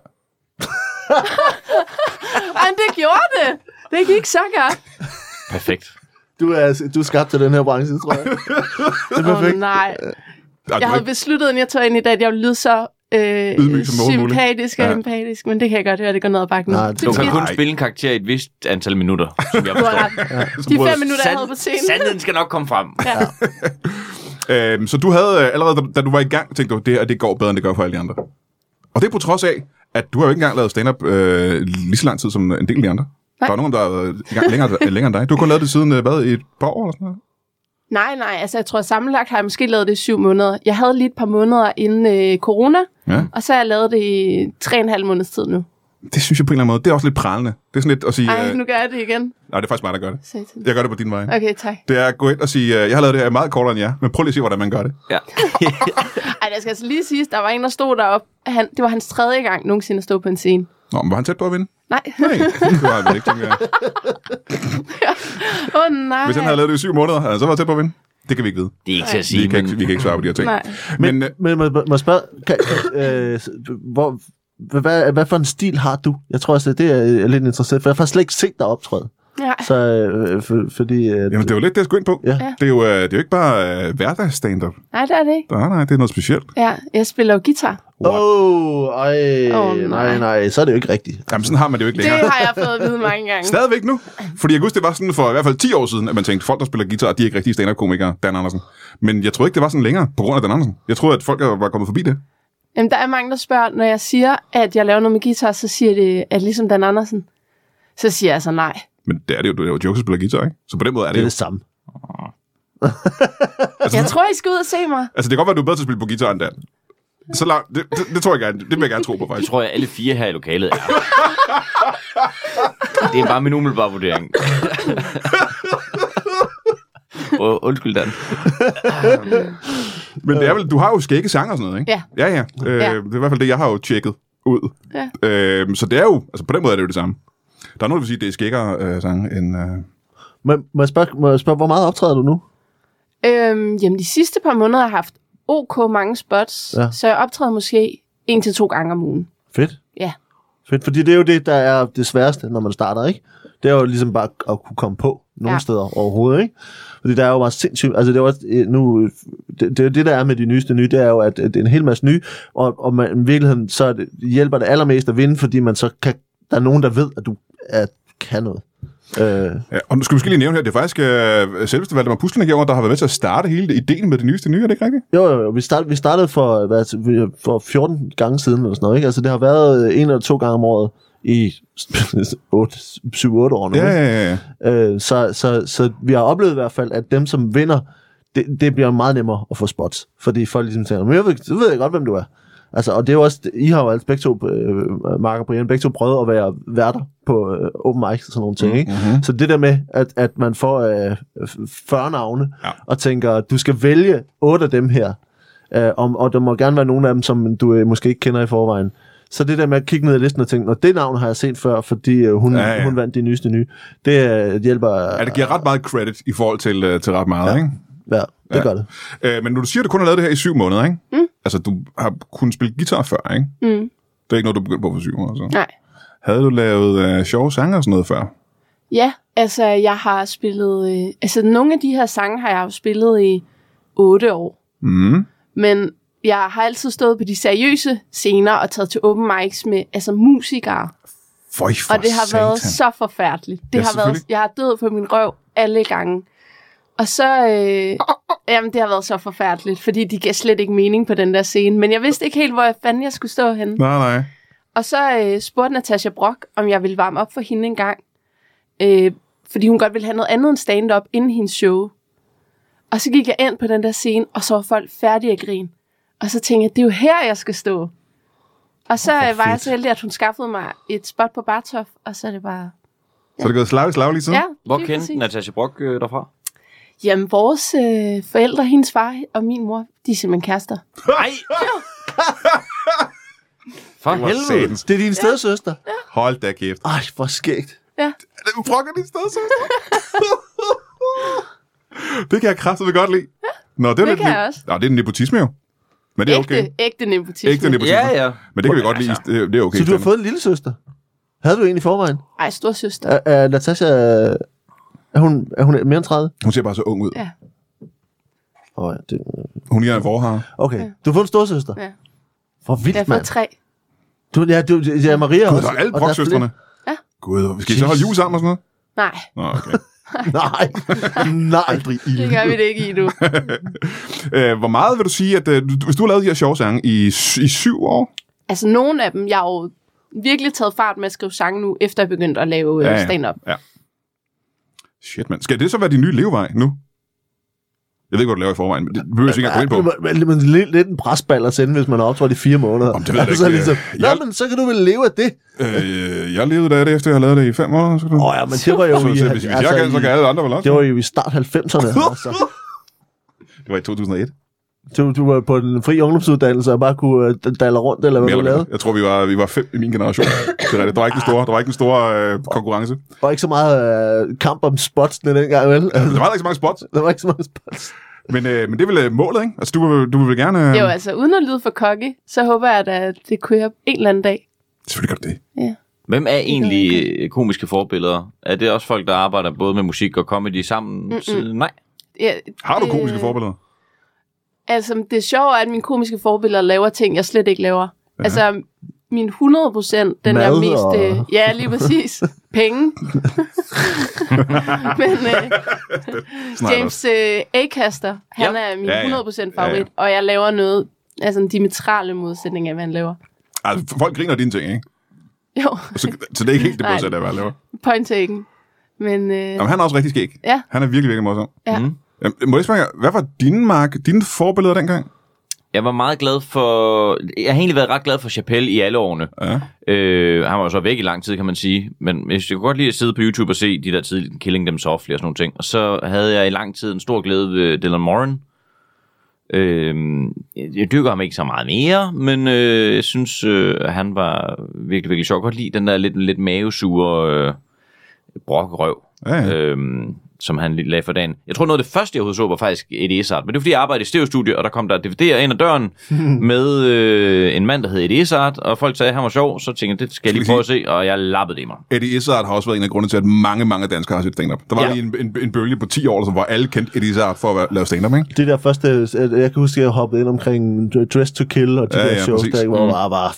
S2: Ej, men det gjorde det. Det gik så godt.
S3: Perfekt.
S4: Du er, altså- du er skabt til den her branche, tror jeg. det er perfekt.
S2: Oh, nej.
S1: Ej,
S2: Jeg havde
S1: det,
S2: besluttet, inden jeg tog ind i dag, at jeg ville lyde så
S1: Ydmyg
S2: øh,
S1: som overhovedet muligt.
S2: sympatisk og
S1: Ja.
S2: ja. empatisk, men det kan jeg godt høre, det går ned ad bakken.
S4: Nej,
S2: det
S4: det
S3: Du
S2: er
S3: kan
S2: skidt.
S3: kun
S1: Nej.
S3: spille en karakter i et vist antal minutter, som jeg
S2: Du har
S3: forstår.
S2: ret. De
S1: brød-
S2: fem minutter, jeg havde på scenen.
S3: sandheden skal nok komme frem.
S2: Ja.
S1: øhm, så du havde øh, allerede, da- da du var i gang, tænkte du, det her det går bedre, end det gør for alle de andre. Og det er på trods af, at du har jo ikke engang lavet stand-up øh, lige så lang tid som en del af de andre. Nej. Der er nogen, der er øh, i gang længere, [LAUGHS] længere end dig. Du har kun lavet det siden øh, hvad, i et par år eller sådan noget.
S2: Nej, nej, altså jeg tror sammenlagt har jeg måske lavet det i syv måneder. Jeg havde lige et par måneder inden øh, corona,
S1: Ja.
S2: og så har jeg lavet det i tre og en halv måneds tid nu.
S1: Det synes jeg på en eller anden måde. Det er også lidt pralende. Det er sådan lidt at sige...
S2: Ej,
S1: Øh,
S2: nu gør jeg det igen.
S1: nej, det er faktisk mig, der gør det.
S2: Satan.
S1: Jeg gør det på din vej.
S2: Okay, tak.
S1: Det er at gå ind og sige, øh, jeg har lavet det her meget kortere end jer, men prøv lige at se, hvordan man gør det.
S3: Ja.
S2: Ej, der skal altså lige siges, der var en, der stod deroppe. Han, det var hans tredje gang nogensinde at stå på en scene.
S1: Nå, men var han tæt på at vinde?
S2: Nej. [LAUGHS]
S1: Nej, det var han vel ikke, tænker jeg.
S2: Åh, oh, nej.
S1: Hvis han havde lavet det i syv måneder, havde han så været tæt på at vinde? Det kan vi ikke vide.
S3: Det er ikke til at sige,
S1: Vi kan, ikke, vi
S3: men
S1: kan ikke svare på de her ting.
S2: Nej.
S1: Men, øh,
S4: Men må, må- må jeg spørge, kan, kan, øh, s- hvor, hvad- hvad, hvad for en stil har du? Jeg tror også, at det er jeg er lidt interessant, for jeg har faktisk slet ikke set dig optræde.
S2: Nej.
S4: Så, øh, for, fordi... Øh,
S1: jamen, det er jo lidt det, jeg skulle ind på.
S4: Ja.
S2: Ja.
S1: Det, er jo, øh, det er jo ikke bare øh, hverdagsstand-up.
S2: nej, det er det ikke.
S1: Nej, nej, det er noget specielt.
S2: Ja, jeg spiller jo guitar.
S4: Åh, oh, ej,
S2: Åh,
S4: oh, nej.
S2: nej.
S4: nej, nej, så er det jo ikke rigtigt.
S1: Jamen, sådan har man det jo ikke
S2: Det
S1: længere.
S2: har jeg fået at vide mange gange.
S1: Stadigvæk nu. Fordi jeg husker, det var sådan for i hvert fald 10 år siden, at man tænkte, folk, der spiller guitar, de er ikke rigtige stand-up-komikere, Dan Andersen. Men jeg tror ikke, det var sådan længere, på grund af Dan Andersen. Jeg troede, at folk var kommet forbi det.
S2: Jamen, der er mange, der spørger, når jeg siger, at jeg laver noget med guitar, så siger det, at ligesom Dan Andersen. Så siger jeg så nej.
S1: Men det er det jo, det er jo jokes, der spiller guitar, ikke? Så på den måde er
S4: Det
S1: det
S4: er
S1: jo.
S4: det samme.
S2: Jeg tror, I skal ud og se mig.
S1: Altså, det kan godt være, du er bedre til at spille på guitar end Dan. Så langt, det, det, det, tror jeg gerne. Det vil jeg gerne tro på,
S3: det
S1: faktisk.
S3: tror jeg, alle fire her i lokalet er. Det er bare min
S1: [LAUGHS]
S3: umiddelbare vurdering. Og undskyld, Dan.
S1: Men det er vel, du har jo skægge sange og sådan noget, ikke?
S2: Ja.
S1: Ja, ja. Øh,
S2: Ja.
S1: Det er i hvert fald det, jeg har jo tjekket ud.
S2: Ja.
S1: Øh, så det er jo, altså på den måde er det jo det samme. Der er nogen, der vil sige, at det er skækkere øh, sange end... Øh...
S4: Men må jeg, spørge, må jeg spørge, hvor meget optræder du nu?
S2: Øhm, jamen, de sidste par måneder har jeg haft ok mange spots,
S4: Ja.
S2: ja. så jeg optræder måske en til to gange om ugen.
S4: Fedt.
S2: Ja.
S4: Fedt, fordi det er jo det, der er det sværeste, når man starter, ikke? Det er jo ligesom bare at kunne komme på nogle
S2: Ja.
S4: ja. steder overhovedet, ikke? Fordi der er jo bare sindssygt... Altså, det er jo også, øh, nu, det, det, er jo det, der er med de nyeste nye, det er jo, at, at det er en hel masse nye, og, og man, i virkeligheden, så er det, hjælper det allermest at vinde, fordi man så kan... Der er nogen, der ved, at du at, kan noget. Øh,
S1: Ja, og nu skal vi måske lige nævne her, det er faktisk øh, selveste Valdemar Puslenik der har været med til at starte hele ideen med det nyeste nye, er det ikke rigtigt?
S4: Jo, jo, jo. Vi, start, vi startede for, hvad, vi- for 14 gange siden, eller sådan noget, ikke? Altså, det har været øh, en eller to gange om året i [LAUGHS] 7-8 år nu.
S1: Ja,
S4: ikke?
S1: ja, ja.
S4: Øh, så, så, så vi har oplevet i hvert fald, at dem, som vinder, det, det bliver meget nemmere at få spots. Fordi folk ligesom tænker, men jeg ved, så ved jeg godt, hvem du er. Altså, og det er jo også, I har jo altså begge to, øh, Mark og Brian, begge to prøvet at være værter på øh, open mics og sådan nogle ting. Ikke?
S1: Mhm.
S4: Så det der med, at, at man får øh, f- 40 navne,
S1: Ja.
S4: ja. og tænker, du skal vælge otte af dem her, øh, og, og der må gerne være nogle af dem, som du øh, måske ikke kender i forvejen. Så det der med at kigge ned i listen og tænke, når det navn har jeg set før, fordi øh, hun,
S1: Ja,
S4: ja,
S1: ja.
S4: ja. hun vandt de nyeste nye, det øh, hjælper.
S1: ja. det giver ret meget credit i forhold til, øh, til ret meget, ja. ikke?
S4: Ja, det
S1: Ja.
S4: ja. gør det.
S1: Øh, men nu du siger, at du kun har lavet det her i syv måneder, ikke? Mm. Altså, du har kunnet spille guitar før, ikke?
S2: Mm.
S1: Det er ikke noget, du begyndte på for syv måneder, så.
S2: Nej.
S1: Havde du lavet øh, sjove sange og sådan noget før?
S2: Ja, altså jeg har spillet... Øh, altså nogle af de her sange har jeg jo spillet i otte år.
S1: Mm.
S2: Men jeg har altid stået på de seriøse scener og taget til open mics med altså musikere.
S1: Føj for
S2: og det har
S1: satan.
S2: været så forfærdeligt.
S1: Ja,
S2: Det ja, har været,
S1: selvfølgelig.
S2: jeg har død på min røv alle gange. Og så, øh, jamen det har været så forfærdeligt, fordi de gav slet ikke mening på den der scene. Men jeg vidste ikke helt, hvor jeg fanden jeg skulle stå henne.
S1: Nej, nej.
S2: Og så øh, spurgte Natasha Brock, om jeg ville varme op for hende en gang. Øh, fordi hun godt ville have noget andet end stand-up inden hendes show. Og så gik jeg ind på den der scene, og så var folk færdige at grine. Og så tænkte jeg, det er jo her, jeg skal stå. Og så
S1: Åh, hvor
S2: oh, var jeg
S1: fedt.
S2: så heldig, at hun skaffede mig et spot på Bartov, og så er det bare...
S1: Så er det gået slag i slag lige siden?
S2: Ja,
S3: Hvor
S2: lige
S3: kendte
S2: præcis.
S3: Natasha Brock øh, derfra?
S2: Jamen, vores øh, forældre, hendes far og min mor, de er simpelthen kærester.
S3: Nej! For
S1: Det var
S3: helvede.
S1: satans.
S4: Det er din stedsøster.
S1: Hold da kæft.
S4: Ej, hvor skægt.
S1: Brokker din sted, så. det kan jeg kraftigt godt lide. Nå, det, er
S2: Det
S1: lidt
S2: kan jeg
S1: ne-
S2: også.
S1: Nå, det er nepotisme jo. Men det er okay.
S2: Ægte, ægte nepotisme.
S1: Ægte nepotisme.
S3: Ja, ja.
S1: Men det kan vi godt lide.
S3: Altså.
S1: Det- Det er okay.
S4: Så du har
S1: Stanley.
S4: fået en lille søster. Havde du en i forvejen?
S2: Ej, storsøster.
S4: Er, er Natasha... øh, Er hun, er hun mere end 30?
S1: Hun ser bare så ung ud.
S2: Ja.
S4: Åh, oh, ja, det...
S1: Hun ligner en forhare.
S4: Okay,
S2: Ja.
S4: du har fået en storsøster.
S2: Ja.
S4: Hvor
S2: Jeg har
S4: vildt,
S2: fået
S4: mand.
S2: tre.
S4: Du, ja, du, ja, Maria
S1: Gud,
S4: også.
S1: der er alle
S4: og der er
S1: broksøstrene.
S2: Ja.
S1: Gud, skal I så holde jul sammen og sådan noget?
S2: Nej,
S1: Nå, okay.
S4: flere. [LAUGHS] Nej, nej. Aldrig i.
S2: det gør vi det ikke i nu.
S1: øh, hvor meget vil du sige, at øh, du- hvis du har lavet de her sjove sange i, sy- i syv år?
S2: Altså, nogle af dem, jeg har jo virkelig taget fart med at skrive sange nu, efter jeg begyndte at lave
S1: Ja,
S2: ja,
S1: ja.
S2: ja. stand-up.
S1: Shit, mand. Skal det så være din nye levevej nu? Jeg ved ikke, hvad du laver i forvejen, men det behøver
S4: Altså,
S1: vi ikke engang gå ind på.
S4: Ja, men, men, men lidt, lidt en presball at sende, hvis man har optrådt i fire måneder.
S1: Jamen, det ved jeg da
S4: altså,
S1: ikke. øh,
S4: Ligesom, Nå,
S1: Jeg-
S4: men så kan du vel leve af det.
S1: Øh, jeg levede da af det, efter jeg havde lavet det i fem år. Så kan du...
S4: Åh oh, ja, men det var jo
S1: Så,
S4: i,
S1: så, hvis, hvis jeg kan, så kan alle andre vel også.
S4: det var jo i start 90'erne. altså.
S1: Det var i 2001.
S4: Du, du var på en fri ungdomsuddannelse og bare kunne uh, dalle rundt, eller hvad
S1: Mere
S4: du
S1: eller
S4: lavede.
S1: mindre. Jeg tror, vi var, vi var fem i min generation. Det er rigtigt. Der var ikke den store, der var ikke den store øh, konkurrence.
S4: Og ikke så meget uh, kamp om spotsene dengang, vel?
S1: Altså,
S4: Altså,
S1: der var der ikke så mange spots.
S4: [LAUGHS] der var ikke så meget spots.
S1: Men, øh, men det er vel øh, målet, ikke? Altså, du, vil- du vil vel gerne... Øh...
S2: Det er jo altså, uden at lyde for kokke, så håber jeg da, at det kører en eller anden dag.
S1: Selvfølgelig gør du det.
S3: Hvem er egentlig øh, komiske forbilleder? Er det også folk, der arbejder både med musik og comedy sammen? Mm-mm. Nej.
S2: Ja,
S1: Har du
S2: det-
S1: komiske forbilleder?
S2: Altså, det er sjovt, at mine komiske forbilleder laver ting, jeg slet ikke laver.
S1: Ja.
S2: Ja. Altså, min 100 procent, den
S4: Mad
S2: er mest...
S4: og-
S2: Øh, ja, lige
S4: [LAUGHS]
S2: præcis.
S1: [LAUGHS]
S2: Penge. Men øh,
S1: Snakker
S2: James øh, A-kaster, han
S3: Ja.
S2: er min
S1: Ja, ja.
S2: 100 procent
S1: Ja, ja.
S2: favorit, og jeg laver noget... Altså en diametrale modsætning af, hvad han laver.
S1: Altså, folk griner af dine ting, ikke?
S2: Jo,
S1: Så, så det er ikke helt det
S2: Nej.
S1: modsatte af, hvad jeg laver.
S2: point taken. Men øh,
S1: Jamen, han er også rigtig skæg.
S2: Ja.
S1: Han er virkelig, virkelig morsom.
S2: Ja.
S1: Mm. Jamen, må jeg spørge, jer, hvad var dine, Mark, dine forbilleder dengang?
S3: Jeg var meget glad for... Jeg har egentlig været ret glad for Chappelle i alle årene.
S1: Ja.
S3: Øh, han var jo så væk i lang tid, kan man sige. Men jeg synes, jeg kunne godt lide at sidde på YouTube og se de der tidlige Killing Them Softly og sådan nogle ting. Og så havde jeg i lang tid en stor glæde ved Dylan Moran. Øh, jeg- jeg dykker ham ikke så meget mere, men øh, jeg synes, øh, han var virkelig, virkelig sjov. Jeg kan godt lide den der lidt, lidt mavesure... Øh, brokrøv,
S1: Ja, ja.
S3: øhm, som han lige lagde for dagen. Jeg tror, noget af det første, jeg overhovedet så, var faktisk Eddie Izzard. Men det var, fordi jeg arbejdede i Stereo-studie, og der kom der DVD'er ind ad [LAUGHS] døren med øh, en mand, der hed Eddie Izzard, og folk sagde, at han var sjov, så tænkte jeg, det skal jeg lige prøve at se, og jeg lappede det i mig.
S1: Eddie Izzard har også været en af grundene til, at mange, mange danskere har set stand-up. Der var ja.
S3: Ja.
S1: lige en, en, en bølge på 10 år, som, hvor alle kendte Eddie Izzard for at være- lave stand-up, ikke?
S4: Det der første, øh, jeg kan huske, at jeg hoppede ind omkring Dress to Kill og de
S1: Ja,
S4: ja, der
S1: ja,
S4: ja, Mm. shows,
S1: præcis.
S4: der ikke var, var, var,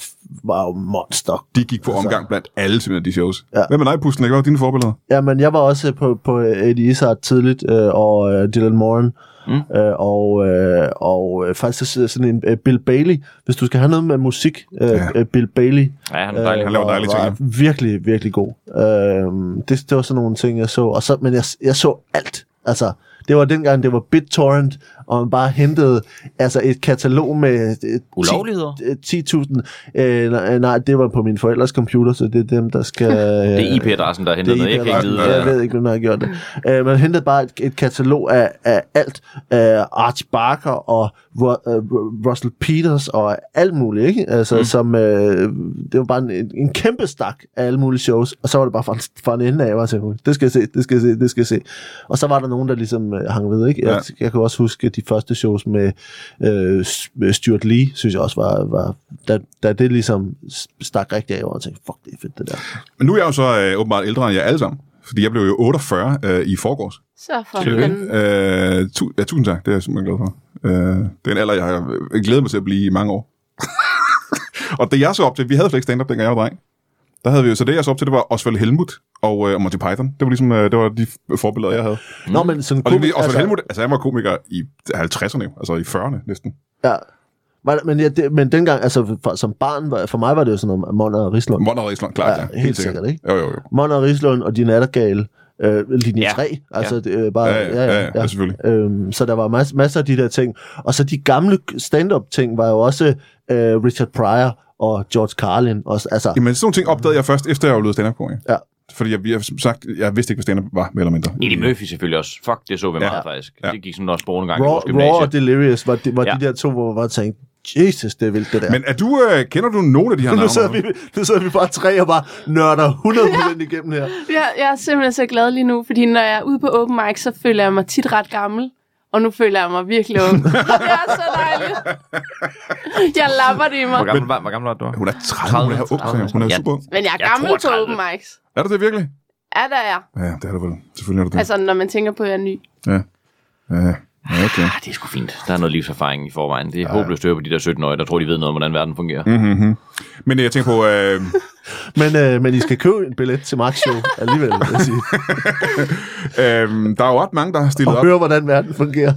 S4: var monster.
S1: De gik på
S4: Altså.
S1: omgang blandt alle simpelthen de shows. Ja.
S4: Ja.
S1: Hvem er dig, Pusten? Hvad var dine forbilleder?
S4: Jamen, jeg var også på, på Eddie Izzard tidligt, øh, og øh, Dylan Moran, mm. øh, og, øh, og øh, faktisk så sidder sådan en øh, Bill Bailey. Hvis du skal have noget med musik, øh,
S1: Ja.
S4: ja. øh, Bill Bailey
S3: Ja, han er dejlig.
S1: Han laver
S4: var-
S1: dejlige ting,
S4: Var virkelig, virkelig god. Øh, det, det var sådan nogle ting, jeg så. Og så men jeg, jeg så alt. Altså, det var dengang, det var BitTorrent, og man bare hentede altså et katalog med øh, 10
S3: Ulovligheder?
S4: 10.000. Øh, nej, nej, det var på min forældres computer, så det er dem, der skal...
S3: [LAUGHS]
S4: øh,
S3: Det er IP-adressen, der er hentet noget. Jeg kan ikke
S1: IP-adressen,
S3: vide, hvad
S1: ja.
S4: jeg ved ikke, hvem der har gjort det. Øh, man hentede bare et, et katalog af, af alt. Øh, Arch Barker og Ru- øh, Ru- Russell Peters og alt muligt, ikke? Altså, mm. som, øh, det var bare en, en- en kæmpe stak af alle mulige shows, og så var det bare fra, en- fra en ende af, hvor jeg tænkte, det skal jeg se, det skal jeg se, det skal jeg se. Og så var der nogen, der ligesom øh, hang ved, ikke? Jeg, jeg kan også huske de første shows med øh, S- med Stuart Lee, synes jeg også var, var da, da det ligesom stak rigtig af, hvor jeg tænkte, fuck, det er fedt, det der.
S1: Men nu er jeg jo så øh, åbenbart ældre end jer alle sammen. Fordi jeg blev jo 48 øh, i forgårs.
S2: Så for
S1: Tillykke.
S2: fanden.
S1: Øh, tu- ja, tusind tak. Det er jeg simpelthen glad for. Øh, det er en alder, jeg har øh, glædet mig til at blive i mange år. [LAUGHS] og det jeg så op til, vi havde slet ikke stand-up, dengang jeg var dreng. Der havde vi jo, så det jeg så op til, det var Osvald Helmut og øh, Monty Python. Det var ligesom, øh, det var de f- forbilleder, jeg havde.
S4: Nå, men sådan
S1: Og det, Osvald
S4: altså-
S1: altså, Helmut, altså han var komiker i 50'erne, jo, altså i 40'erne næsten.
S4: Ja. Var det- Men, ja, det, men dengang, altså for, som barn, var, for mig var det jo sådan noget Monner og Rislund.
S1: Monter og Island, klart ja,
S4: Ja,
S1: ja.
S4: helt sikkert, ikke?
S1: Jo, jo, jo.
S4: Monner og Rislund og de nattergale, øh, linje
S3: Ja.
S4: ja. 3, altså ja. Det, øh, bare,
S1: Ja, ja, ja, ja, ja, selvfølgelig.
S4: Øhm, så der var mas- masser af de der ting. Og så de gamle stand-up ting var jo også øh, Richard Pryor og George Carlin. Også, altså,
S1: Jamen, sådan nogle ting opdagede jeg først, efter jeg var blevet stand up -komiker.
S4: Ja.
S1: Fordi jeg, jeg, som sagt, jeg vidste ikke, hvad stand-up var, mere eller mindre.
S3: Eddie Murphy selvfølgelig også. Fuck, det så vi
S1: Ja.
S3: ja. meget faktisk.
S1: Ja.
S3: Ja. Det gik sådan også brugt en gang i
S4: Raw,
S3: vores gymnasie.
S4: Raw og Delirious var, de, var
S3: Ja.
S4: de der to, hvor man bare tænkte, Jesus, det er vildt, det der.
S1: Men er du, øh, kender du nogle af [LAUGHS] de her navne?
S4: nu, sidder vi, nu sidder vi bare tre og bare nørder 100% igennem her.
S2: Jeg, jeg er simpelthen så glad lige nu, fordi når jeg er ude på open mic, så føler jeg mig tit ret gammel. Og nu føler jeg mig virkelig ung. det er så dejligt. Jeg lapper det i
S3: Hvor
S2: mig.
S3: gammel, var, hvor gammel var du?
S1: Hun er 30, hun er ung, sagde jeg. hun er
S3: Ja.
S1: super ung.
S2: Men jeg er
S3: Jeg
S2: gammel
S3: tror,
S2: på
S3: 30.
S2: open mics.
S1: Er du det Mm. virkelig?
S2: Ja, der er jeg.
S1: Ja, det er du vel. Selvfølgelig er du det.
S2: Altså, når man tænker på, at jeg er ny.
S1: Ja, ja, okay.
S3: Ah, det er sgu fint. Der er noget livserfaring i forvejen. Det er ja. håbløst at høre på de der 17-årige, der tror, de ved noget om, hvordan verden fungerer. Mm.
S1: Men øh, jeg tænker på, øh,
S4: Men, øh, men I skal købe en billet til Max Show alligevel, vil jeg sige.
S1: øh, der er jo ret mange, der har stillet
S4: og
S1: op.
S4: høre, hvordan verden fungerer.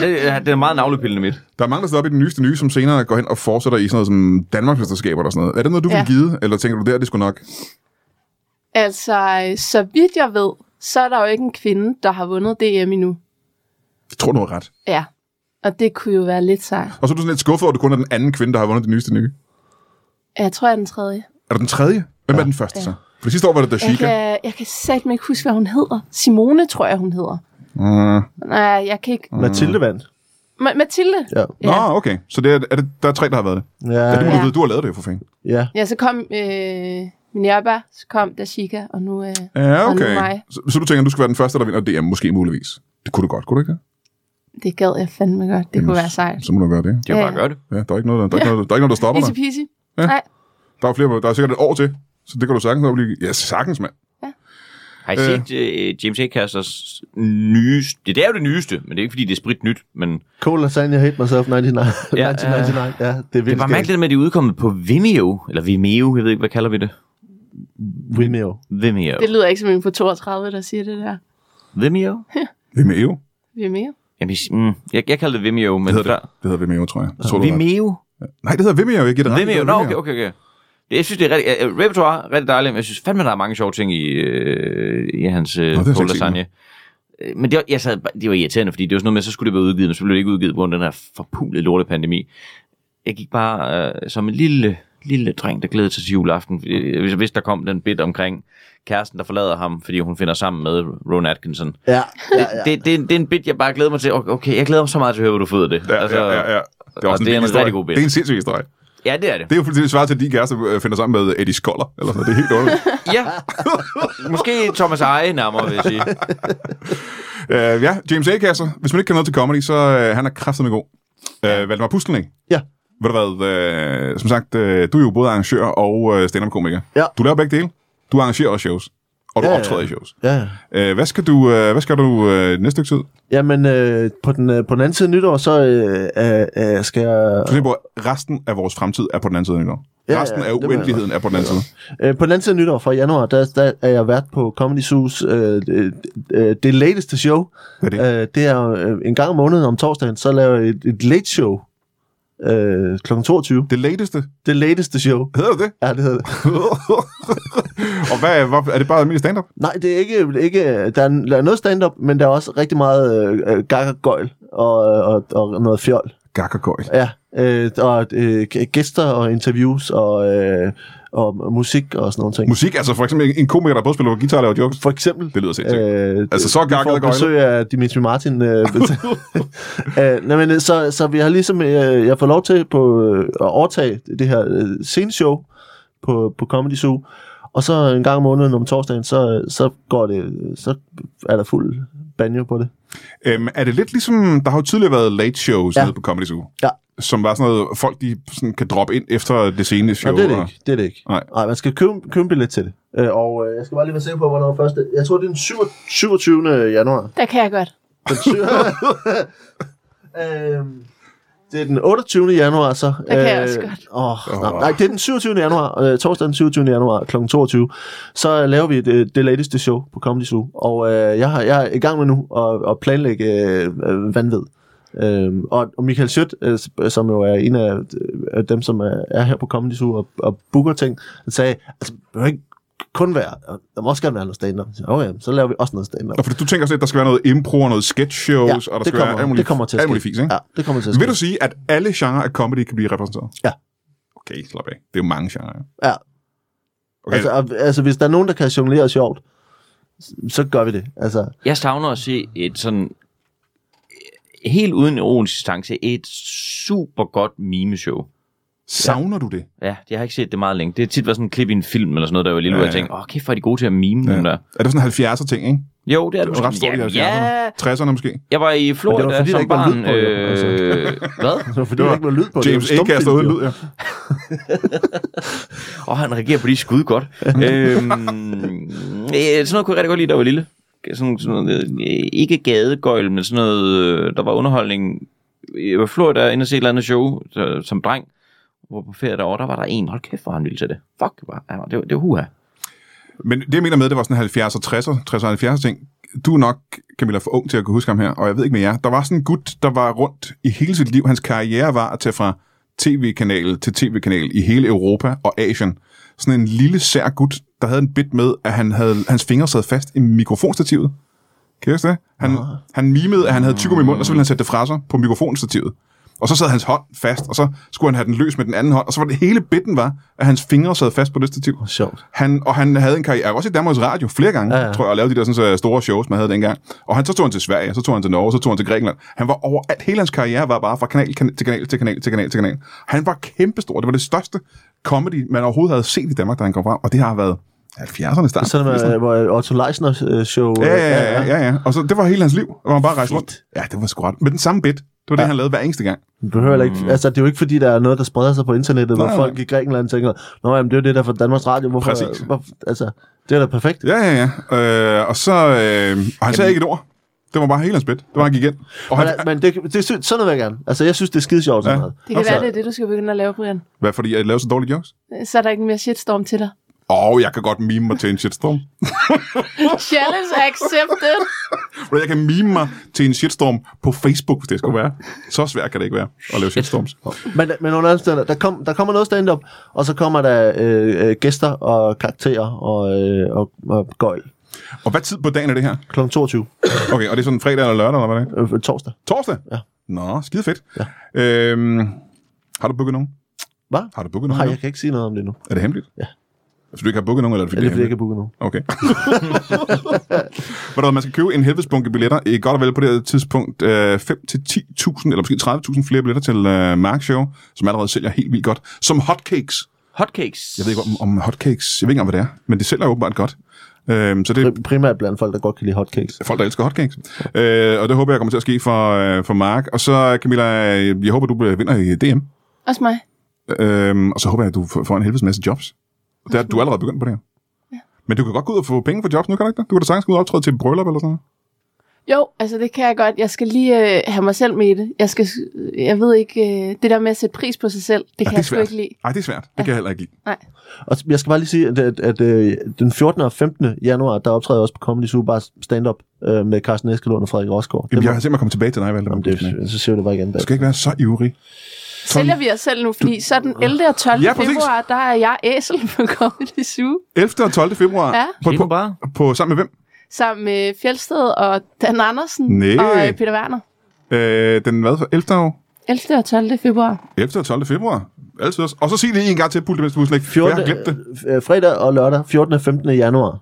S3: Ja, det, er- det er meget navlepillende mit.
S1: Der er mange, der stiller op i den nyeste nye, som senere går hen og fortsætter i sådan noget som Danmarksmesterskaber eller sådan noget. Er det noget, du ja.
S2: Ja.
S1: vil give, eller tænker du, der er det sgu nok?
S2: Altså, øh, så vidt jeg ved, så er der jo ikke en kvinde, der har vundet DM endnu.
S1: Jeg tror, du har ret.
S2: Ja. Og det kunne jo være lidt sejt.
S1: Og så er du sådan lidt skuffet over, at det kun er den anden kvinde, der har vundet det nyeste nye.
S2: Jeg tror, jeg er den tredje.
S1: Er du den tredje? Hvem ja. er den første så? For det sidste år var det
S2: Jeg
S1: Dashika.
S2: kan, jeg kan satme ikke huske, hvad hun hedder. Simone, tror jeg, hun hedder.
S1: Mm.
S2: Nej, jeg kan ikke.
S4: Mm. Mathilde vandt.
S2: Ma- Mathilde?
S4: Ja.
S1: Nå, okay. Så det er, er det, der er tre, der har været det.
S4: Ja,
S1: Ja, det må
S4: ja.
S1: du
S2: Ja.
S1: vide, du har lavet det jo for fanden.
S4: ja.
S2: Ja, så kom øh, Minerva, så kom Dashika, og nu... Øh,
S1: Ja,
S2: Og nu
S1: okay.
S2: mig.
S1: Så, så, du tænker, du skal være den første, der vinder DM, måske muligvis. Det kunne du godt, kunne du ikke det?
S2: det gad jeg fandme godt. Det
S1: Jamen,
S2: kunne være sejt.
S1: Så må du gøre det.
S2: Ja,
S3: Jeg ja. bare
S2: ja.
S3: gør det.
S1: Ja, der er ikke noget, der, der, er ikke noget, der, er ikke noget, der stopper
S2: Easy
S1: dig.
S2: peasy.
S1: Ja.
S2: Ja. Nej.
S1: Der er, flere, der er sikkert et år til, så det kan du sagtens nå at blive... Ja, sagtens, mand.
S3: Har I set øh, James Acasters nye... Det, det er jo det nyeste, men det er ikke, fordi det er sprit nyt. Men det
S4: Cool Lasagna Hate Myself 99.
S3: Ja,
S4: Ja, 1999. Ja, det er
S3: er
S4: virkelig
S3: bare mærkeligt, med, at det er udkommet på Vimeo. Eller Vimeo, jeg ved ikke, hvad kalder vi det?
S4: Vimeo.
S3: Vimeo.
S2: Det lyder ikke som en på 32, der siger det der.
S3: Vimeo?
S1: Vimeo.
S2: Vi er mere.
S3: Jamen, mm, jeg, jeg kalder det Vimeo, men
S1: Det hedder
S3: før...
S1: det. Det hedder Vimeo, tror jeg. jeg tror, du har ret.
S3: Vimeo?
S1: Nej, det hedder Vimeo, jeg giver det ret.
S3: Vimeo,
S1: Det
S3: nå,
S1: hedder
S3: okay, okay, okay. Det, jeg synes, det er rigtig, øh, repertoire er rigtig dejligt, men jeg synes fandme, der er mange sjove ting i, øh, i hans øh,
S1: det har jeg slet
S3: Paul
S1: ikke set
S3: Lasagne. Øh, Men det var, jeg sad, bare- det var irriterende, fordi det var sådan noget med, så skulle det være udgivet, men så blev det ikke udgivet på grund af den her forpulede lortepandemi. Jeg gik bare øh, som en lille, lille dreng, der glædede sig til juleaften. fordi Jeg vidste, der kom den bit omkring kæresten, der forlader ham, fordi hun finder sammen med Ron Atkinson.
S4: Ja, ja, ja.
S3: Det, det, er en- det er en bit, jeg bare glæder mig til. Okay, jeg glæder mig så meget til at høre, hvor du føder det.
S1: Ja, ja, ja, ja. Det er også en,
S3: og Altså, det er
S1: vild
S3: en
S1: historie.
S3: rigtig god bid.
S1: Det er en sindssyg historie.
S3: Ja, det er det.
S1: Det er jo fuldstændig svaret til, at de kæreste øh, finder sammen med Eddie Skoller. Eller sådan. noget. Det er helt
S4: [LAUGHS]
S1: underligt.
S3: Ja. [LAUGHS] Måske Thomas Eje nærmere, vil jeg sige.
S1: uh, ja, James A. Kasser. Hvis man ikke kan noget til comedy, så uh, han er kraftedeme god. Uh, Valdemar Pustelning.
S4: Ja.
S1: Ved du hvad, uh, som sagt, uh, du er jo både arrangør og uh, stand-up-komiker.
S4: Ja.
S1: Du laver begge dele. Du arrangerer også shows. Og du ja,
S4: Ja, ja.
S1: optræder i shows.
S4: Ja, ja.
S1: Uh, hvad skal du, uh, hvad skal du uh, næste stykke tid?
S4: Jamen, øh, på, den, øh, på den anden side af nytår, så øh, øh, øh, skal jeg...
S1: Du tænker på, at resten af vores fremtid er på den anden side af nytår.
S4: Ja,
S1: resten
S4: ja,
S1: af
S4: det mener jeg
S1: uendeligheden er på den anden side.
S4: Øh, på den anden side af nytår fra januar, der, der er jeg vært på Comedy Zoo's øh, øh, øh, det lateste show.
S1: Hvad er det?
S4: Øh, det er jo, øh, en gang om måneden om torsdagen, så laver jeg et, et late show øh, kl. 22.
S1: Det lateste.
S4: Det lateste show.
S1: Hedder
S4: [LAUGHS]
S1: det det?
S4: Ja, det hedder det.
S1: og hvad, er- hvor, er det bare almindelig stand-up?
S4: Nej, det er ikke... ikke der, er, der er noget stand-up, men der er også rigtig meget øh, øh, gak og gøjl og, øh, og, og noget fjol.
S1: Gak og gøjl.
S4: Ja, øh, og øh, gæster og interviews og, øh, og musik og sådan nogle ting.
S1: Musik, altså for eksempel en komiker, der både spiller på guitar og laver jokes.
S4: For eksempel...
S1: Det lyder sindssygt. Øh,
S4: Øh,
S1: Altså, så
S4: vi
S1: gakket
S4: får
S1: og gøjlet.
S4: besøg af Dimitri Martin. Øh,
S1: [LAUGHS]
S4: øh, nej, men, øh, så, så vi har ligesom, øh, jeg får lov til på, øh, at overtage det her øh, sceneshow på, på Comedy Zoo. Og så en gang om måneden om torsdagen, så, øh, så går det, så er der fuld banjo på det.
S1: øhm, er det lidt ligesom, der har jo tidligere været late shows ja.
S4: Ja.
S1: nede på Comedy Zoo,
S4: Ja.
S1: som var sådan noget, folk de sådan kan droppe ind efter det seneste show.
S4: Nej, det er det
S1: og-
S4: ikke. Det er det ikke.
S1: Nej.
S4: Nej man skal købe, købe en billet til det. Øh, og øh, jeg skal bare lige være sikker på, hvornår første... Jeg tror, det er den 27. januar.
S2: Der kan jeg godt.
S4: Den syv... øhm, det er den 28. januar, så. Øh,
S2: Der kan jeg også godt.
S4: Åh,
S1: Åh.
S4: nej, nej, det er den 27. januar, øh, torsdag den 27. januar kl. 22. Så øh, laver vi det, det lateste show på Comedy Zoo. Og øh, jeg, har, jeg er i gang med nu at, at planlægge øh, øh, vanvid. Øhm, og, og Michael Schødt, øh, s- som jo er en af, øh, af dem, som er, er her på Comedy Zoo og, og booker ting, han sagde, altså, det behøver ikke kun være, der må også gerne være noget stand-up. Jeg sagde, Okay, så laver vi også noget stand-up.
S1: Og fordi du tænker også lidt, der skal være noget impro og noget sketch shows, og der
S4: det
S1: skal
S4: kommer,
S1: være alt muligt,
S4: det kommer til at
S1: alt muligt
S4: ske.
S1: fis, ikke?
S4: Ja, det kommer til at
S1: Vil
S4: ske.
S1: du sige, at alle genrer af comedy kan blive repræsenteret?
S4: Ja.
S1: Okay, slap af. Det er jo mange genrer.
S4: Ja.
S1: Okay.
S4: Altså, og- altså, hvis der er nogen, der kan jonglere sjovt, s- så gør vi det. Altså,
S3: Jeg savner at se et sådan, helt uden ironisk distance, et super godt mimeshow.
S1: Savner du det?
S3: Ja, jeg har ikke set det meget længe. Det har tit været sådan en klip i en film eller sådan noget, der var lille, ja,
S1: Ja,
S3: ja. og jeg
S1: ja.
S3: tænkte, åh, kæft, hvor er de gode til at mime, ja. dem der.
S1: Er det sådan 70'er ting, ikke?
S3: Jo, det er det,
S1: Det var ret stort i
S3: ja,
S1: 70'erne.
S3: ja,
S1: 60'erne måske.
S3: jeg var i Florida
S4: Men det var, fordi der
S3: som
S4: ikke var
S3: barn.
S4: lyd på, jo, altså.
S3: øh, hvad?
S4: det var [LAUGHS] fordi, der ikke var lyd på det.
S1: James
S4: det.
S1: A.
S4: var en
S1: kaster
S4: stumfilm,
S1: uden
S4: jo.
S1: lyd, ja.
S3: Og han reagerer på de
S1: [LAUGHS]
S3: skud godt. øhm, øh, sådan noget kunne jeg rigtig godt lide, da jeg var lille. Sådan, sådan noget, øh, ikke gadegøjl, men sådan noget, øh, der var underholdning. Jeg var i Florida inde og se et eller andet show så, som dreng, hvor på ferie derovre, der var der en, hold kæft, hvor han ville til det. Fuck, var, han var, det, var, det var huha.
S1: Men det, jeg mener med, det var sådan 70'er, 60'er, 60'er og 70'er ting. Du er nok, Camilla, for ung til at kunne huske ham her, og jeg ved ikke med jer. Der var sådan en gut, der var rundt i hele sit liv. Hans karriere var at tage fra tv-kanal til tv-kanal i hele Europa og Asien. Sådan en lille sær gut, der havde en bit med, at han havde, hans fingre sad fast i mikrofonstativet. Kan I huske det? Han, han mimede, at han havde tyggegummi i munden, og så ville han sætte det fra sig på mikrofonstativet. Og så sad hans hånd fast, og så skulle han have den løs med den anden hånd, og så var det hele bitten var, at hans fingre sad fast på det stativ.
S4: Sjovt.
S1: Han, og han havde en karriere, også i Danmarks Radio, flere gange, ja,
S4: Ja,
S1: ja.
S4: ja.
S1: tror jeg, og lavede de der sådan, så øh, store shows, man havde dengang. Og han, så tog han til Sverige, så tog han til Norge, så tog han til Grækenland. Han var overalt. Hele hans karriere var bare fra kanal, kan, til kanal, til kanal, til kanal, til kanal. Han var kæmpestor. Det var det største comedy, man overhovedet havde set i Danmark, da han kom frem. Og det har været 70'erne start.
S4: Sådan med, øh, hvor øh, Otto Leisners øh, show... øh,
S1: Ja, ja, ja, ja, ja. Og så, det var hele hans liv, hvor han bare rejste rundt. Ja, det var sgu ret. Med den samme bit. Det var ja. det, han lavede hver eneste gang.
S4: Man behøver heller ikke, altså, det er jo ikke, fordi der er noget, der spreder sig på internettet, hvor
S1: Nej, nej.
S4: folk i Grækenland tænker, Nå, jamen, det er jo det der fra Danmarks Radio. Hvorfor,
S1: Præcis.
S4: Hvorfor, altså, det er da perfekt.
S1: Ja, ja, ja. Øh, og så... Øh, og han sagde ikke et ord. Det var bare hele hans bit. Det var, han gik ind. Og han,
S4: Men, men det, det, det, sådan noget vil jeg gerne. Altså, jeg synes, det er skide sjovt sådan
S1: Ja.
S4: noget.
S2: Det kan være, det er det, du skal begynde at lave, Brian.
S1: hvad, fordi jeg lavede så dårlige jokes?
S2: Så er der ikke mere shitstorm
S1: [LAUGHS]
S2: til dig.
S1: Åh, oh, jeg kan godt mime mig til en shitstorm.
S2: Challenge accepted.
S1: Eller jeg kan mime mig til en shitstorm på Facebook, hvis det skulle være. Så svært kan det ikke være at lave shitstorms.
S4: Men, men under alle steder, der, kom, der kommer noget stand-up, og så kommer der øh, øh, gæster og karakterer og, øh, og, og gøjl.
S1: Og hvad tid på dagen er det her?
S4: Kl. 22.
S1: Okay, og det er sådan fredag eller lørdag, eller hvad er det?
S4: Øh, torsdag.
S1: Torsdag?
S4: Ja.
S1: Nå, skide fedt.
S4: Ja.
S1: Øhm, har du booket nogen?
S4: Hvad?
S1: Har du booket nogen?
S4: Nej,
S1: endnu?
S4: jeg kan ikke sige noget om det nu.
S1: Er det hemmeligt?
S4: Ja.
S1: Fordi du ikke har booket nogen, eller er det
S4: Det
S1: fordi,
S4: er
S1: det
S4: fordi, jeg ikke har booket nogen.
S1: er Okay. [LAUGHS] Hvor der, man skal købe en helvedes bunke billetter. I godt og vel på det her tidspunkt øh, 5-10.000, eller måske 30.000 flere billetter til øh, Mark Show, som allerede sælger helt vildt godt. Som hotcakes.
S3: Hotcakes.
S1: Jeg ved ikke om, om hotcakes. Jeg ved ikke engang, hvad det er, men det sælger åbenbart godt. Øhm, så det er
S4: Pri- Primært blandt folk, der godt kan lide hotcakes.
S1: folk, der elsker hotcakes. Øh, og det håber jeg kommer til at ske for, øh, for Mark. Og så, Camilla, øh, jeg håber, du bliver- vinder i DM.
S2: Også mig.
S1: Øhm, og så håber jeg, at du får får en helvedes masse jobs. Og Der, du er allerede begyndt på det her. Men du kan godt gå ud og få penge for jobs nu, kan du ikke det? Du kan da sagtens gå ud og optræde til et bryllup eller sådan noget.
S2: Jo, altså det kan jeg godt. Jeg skal lige øh, have mig selv med i det. Jeg, skal, jeg ved ikke, øh, det der med at sætte pris på sig selv, det
S1: Ja,
S2: kan
S1: det er
S2: jeg sgu
S1: svært.
S2: ikke lide.
S1: Ej, det er svært. Det kan jeg heller ikke lide.
S4: Og jeg skal bare lige sige, at, at, at øh, den 14. og 15. januar, der optræder jeg også på Comedy Superbar stand-up øh, med Carsten Eskelund og Frederik Rosgaard.
S1: Jamen,
S4: det,
S1: jeg har simpelthen kommet tilbage til dig, Valder.
S4: jamen, det, så ser vi det bare igen.
S1: Du
S4: Bag.
S1: skal ikke være så ivrig.
S2: Sælger vi os selv nu, fordi så den 11. og 12.
S1: Ja,
S2: Ja,
S1: præcis.
S2: februar, der er jeg æsel på Comedy Zoo,
S1: 11. og 12. februar.
S2: Ja.
S1: På,
S3: Det
S1: på,
S3: er bare.
S1: på, sammen med hvem?
S2: sammen med Fjeldsted og Dan Andersen
S1: Næ.
S2: og øh, Peter Werner.
S1: Øh, den hvad? 11. og
S2: 11. og 12. februar.
S1: 11. og 12. februar. Altid også. Og så sig det en gang til, Pulte Mens Bussen, ikke? For
S4: 14,
S1: Jeg har glemt det.
S4: øh, fredag og lørdag, 14. og 15. januar,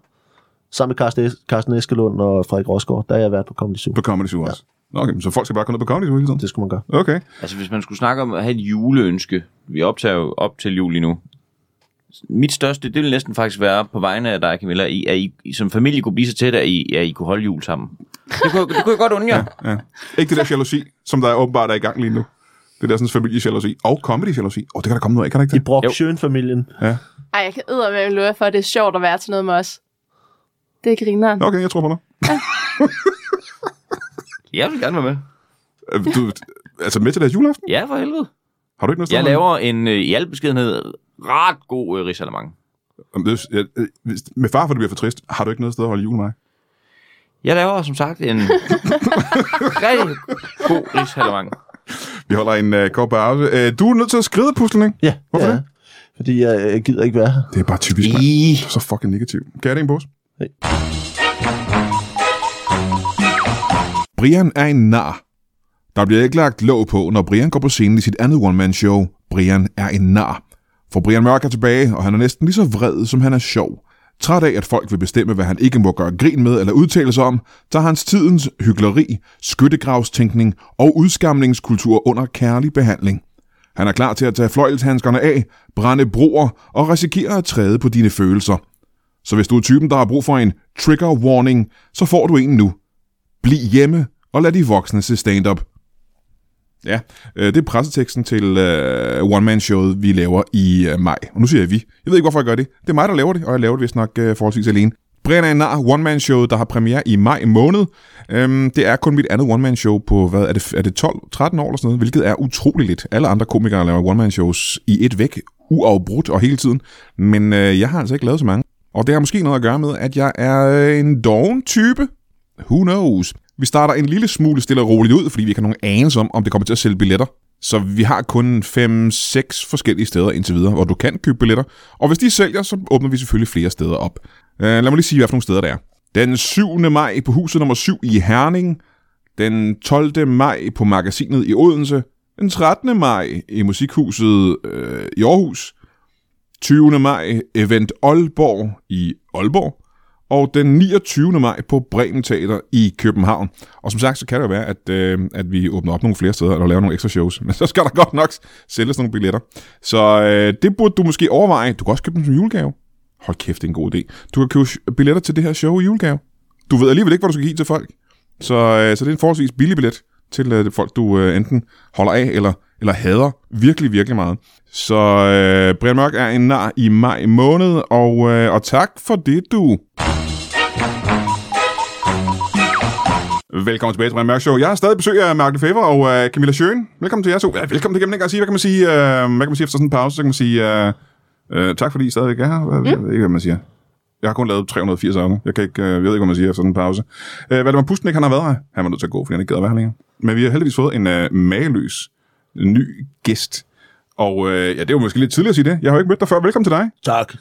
S4: sammen med Carsten, Es- Carsten Eskelund og Frederik Rosgaard, der er jeg været på Comedy Zoo.
S1: På Comedy Zoo også. Nå, okay, men så folk skal bare gå ned på Comedy Zoo hele tiden.
S4: Det skulle man gøre.
S1: Okay.
S3: Altså, hvis man skulle snakke om at have et juleønske, vi optager jo op til jul lige nu. Mit største, det ville næsten faktisk være på vegne af dig, Camilla, I, at I som familie kunne blive så tæt, at I, at I kunne holde jul sammen. Det kunne, det kunne jeg godt undre jer.
S1: Ja. Ikke det der jalousi, som der åbenbart er i gang lige nu. Det der sådan familiejalousi og comedy-jalousi. Åh, oh, det kan der komme noget af, kan der ikke
S4: I
S1: det?
S4: brok
S3: Jo.
S4: familien
S2: Ej, jeg kan eddermame love jer for, at det er sjovt at være til noget med os. Det er grineren.
S1: Okay, jeg tror på dig.
S3: Jeg vil gerne være med.
S1: Øh, Du, altså med til deres juleaften?
S3: Ja, for helvede.
S1: Har du ikke noget
S3: Jeg
S1: sted,
S3: laver en, øh, i al beskedenhed, ret god øh, risalemang.
S1: man- Om det- jeg- øh, hvis- Med far for, det bliver for trist. Har du ikke noget sted at holde jul, Mark?
S3: Jeg laver som sagt en [LAUGHS] rigtig god risalemang.
S1: Vi holder en uh, kort pause. Uh, du er nødt til at skride puslen, ikke?
S4: Ja,
S1: Hvorfor
S4: ja.
S1: det?
S4: Fordi jeg, jeg gider ikke være her.
S1: Det er bare typisk, mand.
S3: I...
S1: Du er så fucking negativ. Kan jeg det en pose?
S4: Nej.
S1: Brian er en nar. Der bliver ikke lagt låg på, når Brian går på scenen i sit andet one-man-show. Brian er en nar. For Brian Mørk er tilbage, og han er næsten lige så vred, som han er sjov. Træt af, at folk vil bestemme, hvad han ikke må gøre grin med eller udtale sig om, tager hans tidens hyggeleri, skyttegravstænkning og udskamningskultur under kærlig behandling. Han er klar til at tage fløjelshandskerne af, brænde broer og risikere at træde på dine følelser. Så hvis du er typen, der har brug for en trigger warning, så får du en nu. Bliv hjemme og lad de voksne se stand-up. Ja, øh, det er presseteksten til øh, one-man-showet, vi laver i øh, maj. Og nu siger jeg vi. Jeg ved ikke, hvorfor jeg gør det. Det er mig, der laver det, og jeg laver det vist nok øh, forholdsvis alene. Brian er en nar, one-man-showet, der har premiere i maj måned. Øhm, det er kun mit andet one-man-show på, hvad er det, er det 12-13 år eller sådan noget, hvilket er utroligt lidt. Alle andre komikere laver one-man-shows i et væk, uafbrudt og hele tiden. Men øh, jeg har altså ikke lavet så mange. Og det har måske noget at gøre med, at jeg er øh, en doven type. Who knows? Vi starter en lille smule stille og roligt ud, fordi vi ikke har nogen anelse om, om det kommer til at sælge billetter. Så vi har kun 5-6 forskellige steder indtil videre, hvor du kan købe billetter. Og hvis de sælger, så åbner vi selvfølgelig flere steder op. Øh, lad mig lige sige, hvad for nogle steder der er. Den 7. maj på huset nummer 7 i Herning. Den 12. maj på magasinet i Odense. Den 13. maj i musikhuset øh, i Aarhus. 20. maj Event Aalborg i Aalborg, og den 29. maj på Bremen Teater i København. Og som sagt, så kan det jo være, at, øh, at vi åbner op nogle flere steder, eller laver nogle ekstra shows. [LAUGHS] Men så skal der godt nok sælges nogle billetter. Så øh, det burde du måske overveje. Du kan også købe dem som julegave. Hold kæft, det er en god idé. Du kan købe sh- billetter til det her show i julegave. Du ved alligevel ikke, hvad du skal give til folk. Så, øh, så det er en forholdsvis billig billet til øh, folk, du øh, enten holder af eller, eller hader virkelig, virkelig meget. Så øh, Brian Mørk er en nar i maj måned, og, øh, og tak for det, du. Velkommen tilbage til Brian Mørk Show. Jeg har stadig besøg af Mark Lefebvre og øh, Camilla Schøen. Velkommen til jer to. Ja, velkommen til gennem sige. Hvad kan man sige, øh, hvad kan man sige efter sådan en pause? Så kan man sige, øh, øh, tak fordi I stadigvæk er her. Hvad, Jeg ved ikke, hvad man siger. Jeg har kun lavet 380 aftener. Jeg, kan ikke, øh, jeg ved ikke, hvad man siger efter sådan en pause. Øh, Valdemar Pusten, ikke, han har været her. Han var nødt til at gå, fordi han ikke gider at være her længere. Men vi har heldigvis fået en øh, mageløs ny gæst. Og øh, ja, det var måske lidt tidligt at sige det. Jeg har jo ikke mødt dig før. Velkommen til dig.
S4: Tak.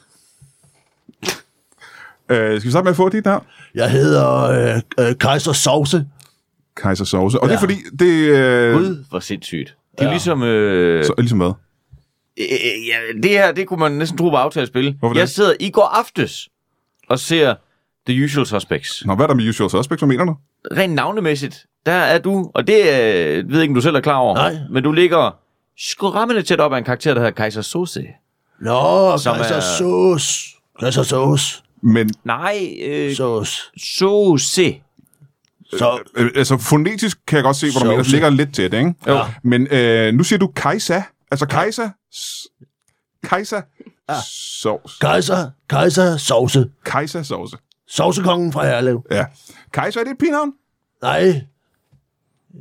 S1: Øh, skal vi starte med at få dit navn?
S4: Jeg hedder øh, øh, Kaiser Sauce.
S1: Kaiser Sause. Og ja. det er
S4: Ja.
S1: fordi, det... Øh,
S3: Gud, hvor sindssygt. Det er ligesom... Øh,
S1: så, ligesom hvad?
S3: Øh, ja, det her, det kunne man næsten tro var aftalespil.
S1: Hvorfor det?
S3: Jeg sidder i går aftes og ser The Usual Suspects.
S1: Nå, hvad er der med Usual Suspects? Hvad mener du?
S3: Rent navnemæssigt, der er du, og det øh, ved jeg ikke, om du selv er klar over,
S4: Nej.
S3: men du ligger skræmmende tæt op af en karakter, der hedder Kaiser Sose.
S4: Nå,
S3: Som
S4: Kaiser
S3: er-
S4: Sauce. Kaiser Sauce.
S1: Men
S3: Nej, øh,
S4: Sauce.
S3: Sose.
S4: Så,
S1: øh, altså fonetisk kan jeg godt se, hvor du
S4: Sovs.
S1: mener, det ligger lidt tæt, ikke?
S3: Jo.
S1: Men øh, nu siger du Kajsa. Altså Kajsa. s- Kajsa. Sovs.
S4: Kaiser, Kaiser Sauce.
S1: Kajsa sovse.
S4: Saucekongen fra Herlev.
S1: Ja. Kajsa, er det et pigenavn?
S4: Nej,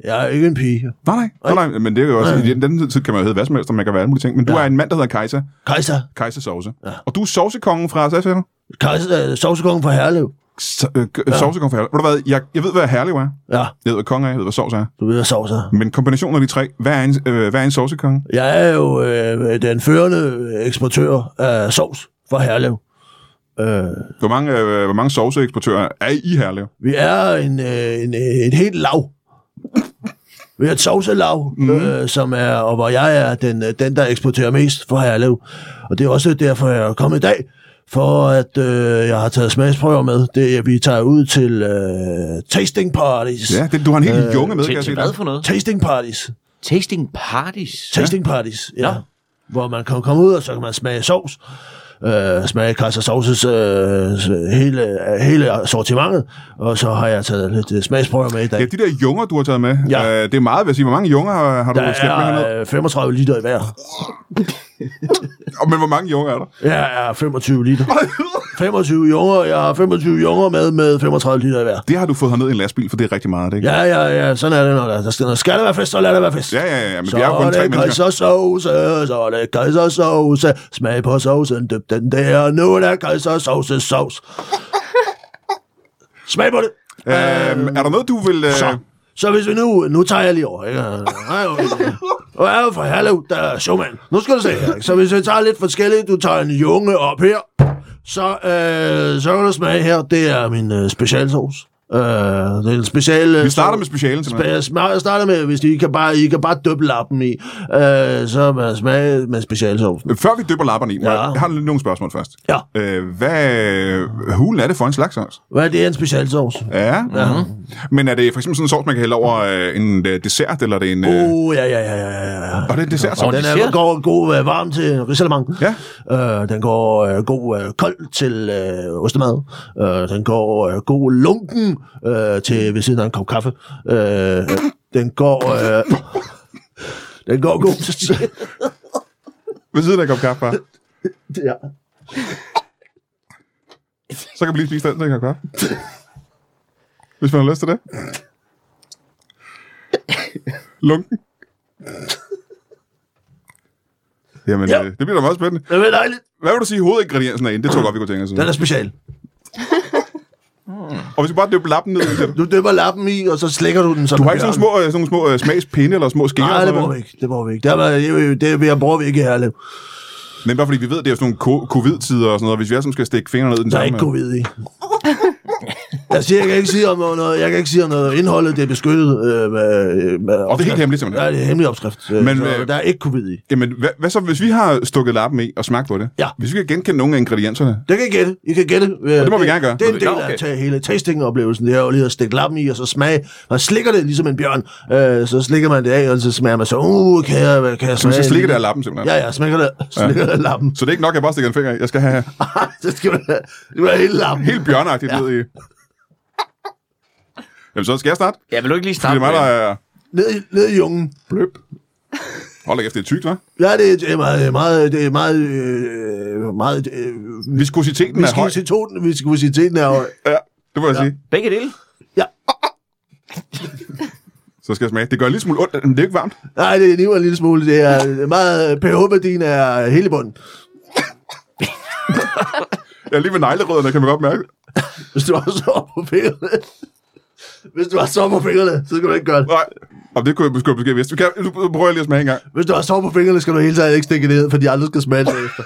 S4: jeg er ikke en pige.
S1: Nej, nej. nej. nej, men det er jo også, i den, den tid kan man jo hedde hvad som helst, og man kan være alle mulige ting. Men du
S4: Ja.
S1: er en mand, der hedder Kajsa.
S4: Kaiser,
S1: Kajsa sovse. Og du er sovsekongen fra, hvad siger du?
S4: Kaiser, øh, Saucekongen fra Herlev.
S1: So, øh, ja. Sovsekongen fra Herlev. Ved du hvad, jeg, jeg ved, hvad Herlev er.
S4: Ja,
S1: Jeg ved, hvad konge er, jeg ved, hvad sovs er.
S4: du ved, hvad sauce er.
S1: Men kombinationen af de tre, hvad er en, øh, hvad er en sovsekonge?
S4: Jeg er jo øh, den førende eksportør af sovs fra Herlev. Øh,
S1: Hvor mange, øh, hvor mange sovseeksportører er I i Herlev?
S4: vi er en, øh, en, øh, et helt lav. Vi er et sovselav,
S1: Mhm.
S4: mm. øh, som er, og hvor jeg er den, øh, den, der eksporterer mest fra Herlev. Og det er også derfor, jeg er kommet i dag, for at øh, jeg har taget smagsprøver med. Det er, vi tager ud til øh, tasting parties.
S1: Ja, det, du har en helt øh, junge med, kan
S3: Til,
S1: jeg
S3: til
S1: se.
S3: hvad for noget?
S4: Tasting parties.
S3: Tasting parties.
S4: Tasting parties, ja.
S3: Nå.
S4: Hvor man kan komme ud, og så kan man smage sovs. Øh, smage Kaiser Sovses øh, s- hele, hele sortimentet. Og så har jeg taget lidt øh, smagsprøver med i dag.
S1: Ja, de der junger, du har taget med,
S4: Ja.
S1: øh, det er meget, vil jeg sige. Hvor mange junger har, har du
S4: Der
S1: slæbt med hernede?
S4: er øh, 35 liter i hver.
S1: Øh, Men hvor mange junger er
S4: [LAUGHS]
S1: der?
S4: Jeg er 25 liter. 25 junger, jeg har 25 junger med, med 35 liter i hver.
S1: det har du fået herned i en lastbil, for det er rigtig meget, er det ikke?
S4: Ja, ja, ja, sådan er det, når der, der skal, når skal der være fest, så lad der være fest.
S1: ja, ja, ja men
S4: Så
S1: vi er jo kun
S4: er
S1: tre
S4: det
S1: mennesker.
S4: kejsersauce, øh, så er det kejsersauce. øh. Smag på sovsen, dyb den der, nu er der
S1: [LAUGHS]
S4: kejsersauce sovs. Smag på det.
S1: Øhm, er der noget, du vil... Øh,
S4: Så, så hvis vi nu, nu tager jeg lige over, ikke? Jeg er jo, jeg er jo fra Herlev, der er showman. Nu skal du se her, ikke? Så hvis vi tager lidt forskelligt, du tager en junge op her, så, øh, så kan du smage her, det er min øh, specialsauce. Øh, det er en special... øh,
S1: vi starter
S4: sovs.
S1: med specialen til mig.
S4: Jeg smager, jeg starter med, hvis I kan bare, I kan bare døbe lappen i, øh, så man smager med specialsovsen.
S1: Øh, Før vi dypper lapperne i, må
S4: Ja.
S1: jeg jeg har lidt nogle spørgsmål først.
S4: Ja,
S1: Øh, hvad hulen er det for en slags sovs?
S4: hvad er det en specialsovs?
S1: Ja. Mm-hmm. Men er det for eksempel sådan en sovs, man kan hælde over øh, en øh, dessert, eller er det en... Øh,
S4: Uh, ja, ja, ja, ja, ja, ja.
S1: og det er en dessert
S4: [LAUGHS] Og
S1: sovs?
S4: den
S3: dessert?
S4: er, går god øh, varm til risalemang.
S1: Ja.
S4: Øh, den går øh, god øh, kold til øh, ostemad. Øh, den går øh, god lunken øh, til ved siden af en kop kaffe. Øh, øh, den går... Øh, [LAUGHS] den går god til... [LAUGHS]
S1: Ved siden af en kop kaffe, bare.
S4: ja.
S1: Så kan vi lige spise den, så kan jeg kaffe. Hvis man har lyst til det. Lunken. Jamen,
S4: Ja.
S1: ja. øh, det bliver da meget spændende.
S4: Det er dejligt.
S1: Hvad vil du sige, hovedingrediensen er inde? Det tror jeg godt, vi kunne tænke os.
S4: Den er special.
S1: Og hvis vi bare døber lappen ned i det.
S4: Du døber lappen i, og så slækker du den som
S1: Du har
S4: en
S1: ikke sådan
S4: bjørn.
S1: nogle små, øh, sådan nogle små øh, smagspinde eller små skeer? eller
S4: Nej, det
S1: sådan
S4: bruger vi
S1: noget?
S4: ikke. Det bruger vi ikke. Det, er, det, det, det bruger vi ikke i Herlev.
S1: Men bare fordi vi ved, det er jo sådan nogle ko- covid-tider og sådan noget. Hvis vi alle sammen skal stikke fingrene ned i den
S4: Der er
S1: samme...
S4: ikke covid i. Jeg, siger, jeg, kan ikke sige om noget, jeg kan ikke sige om noget. Indholdet det er beskyttet. Øh, med, med
S1: Og det er helt hemmeligt,
S4: Ja,
S1: simpelthen.
S4: det er en hemmelig opskrift. Øh,
S1: Men,
S4: Men, så,
S1: øh,
S4: der er ikke covid i.
S1: Jamen, hvad, hvad, så, hvis vi har stukket lappen i og smagt på det?
S4: Ja.
S1: Hvis vi kan genkende nogle af ingredienserne?
S4: Det kan I gætte. I kan gætte. Øh,
S1: det må vi gerne gøre.
S4: Det er en del
S3: Nå, okay.
S4: af okay. hele tasting-oplevelsen. Det er jo lige at stikke lappen i, og så smage. Og slikker det ligesom en bjørn. Øh, så slikker man det af, og så smager man så. Uh, kan jeg, kan jeg
S1: Så
S4: smage?
S1: vi skal slikke
S4: en
S1: det
S4: lille-
S1: af lappen, simpelthen.
S4: Ja, ja, slikker det, slikker det af [LAUGHS] lappen.
S1: Så det er ikke nok, at jeg bare stikker en finger i. Jeg skal have
S4: det skal man Det var hele lappen.
S1: helt bjørnagtigt [LAUGHS] ja. ned i... Jamen, så skal jeg starte.
S3: Ja, vil du ikke lige
S1: Det
S3: starte
S1: er mig, der
S3: med?
S1: er...
S4: Ned, i- ned i jungen.
S1: Bløb. Hold da kæft, det er tykt, hva'?
S4: Ja, det, det er meget, meget, det er meget, øh, meget, øh,
S1: Viskositeten er høj.
S4: viskositeten, viskositeten er høj.
S1: Ja, det må jeg sige.
S3: Begge dele?
S1: Så skal jeg smage. Det gør en lille smule ondt, men det er ikke varmt.
S4: Nej, det er en lille smule, det er meget, pH-værdien er hele bunden.
S1: Jeg er lige ved neglerødderne, kan man godt mærke.
S4: Hvis du har så på fingrene, hvis du har så på fingrene, så skal du ikke gøre det.
S1: Nej, og det kunne jeg måske måske vidste. Kan, nu prøver jeg lige at smage en gang.
S4: Hvis du har så på fingrene, skal du hele tiden ikke stikke det ned, for de andre skal smage det efter.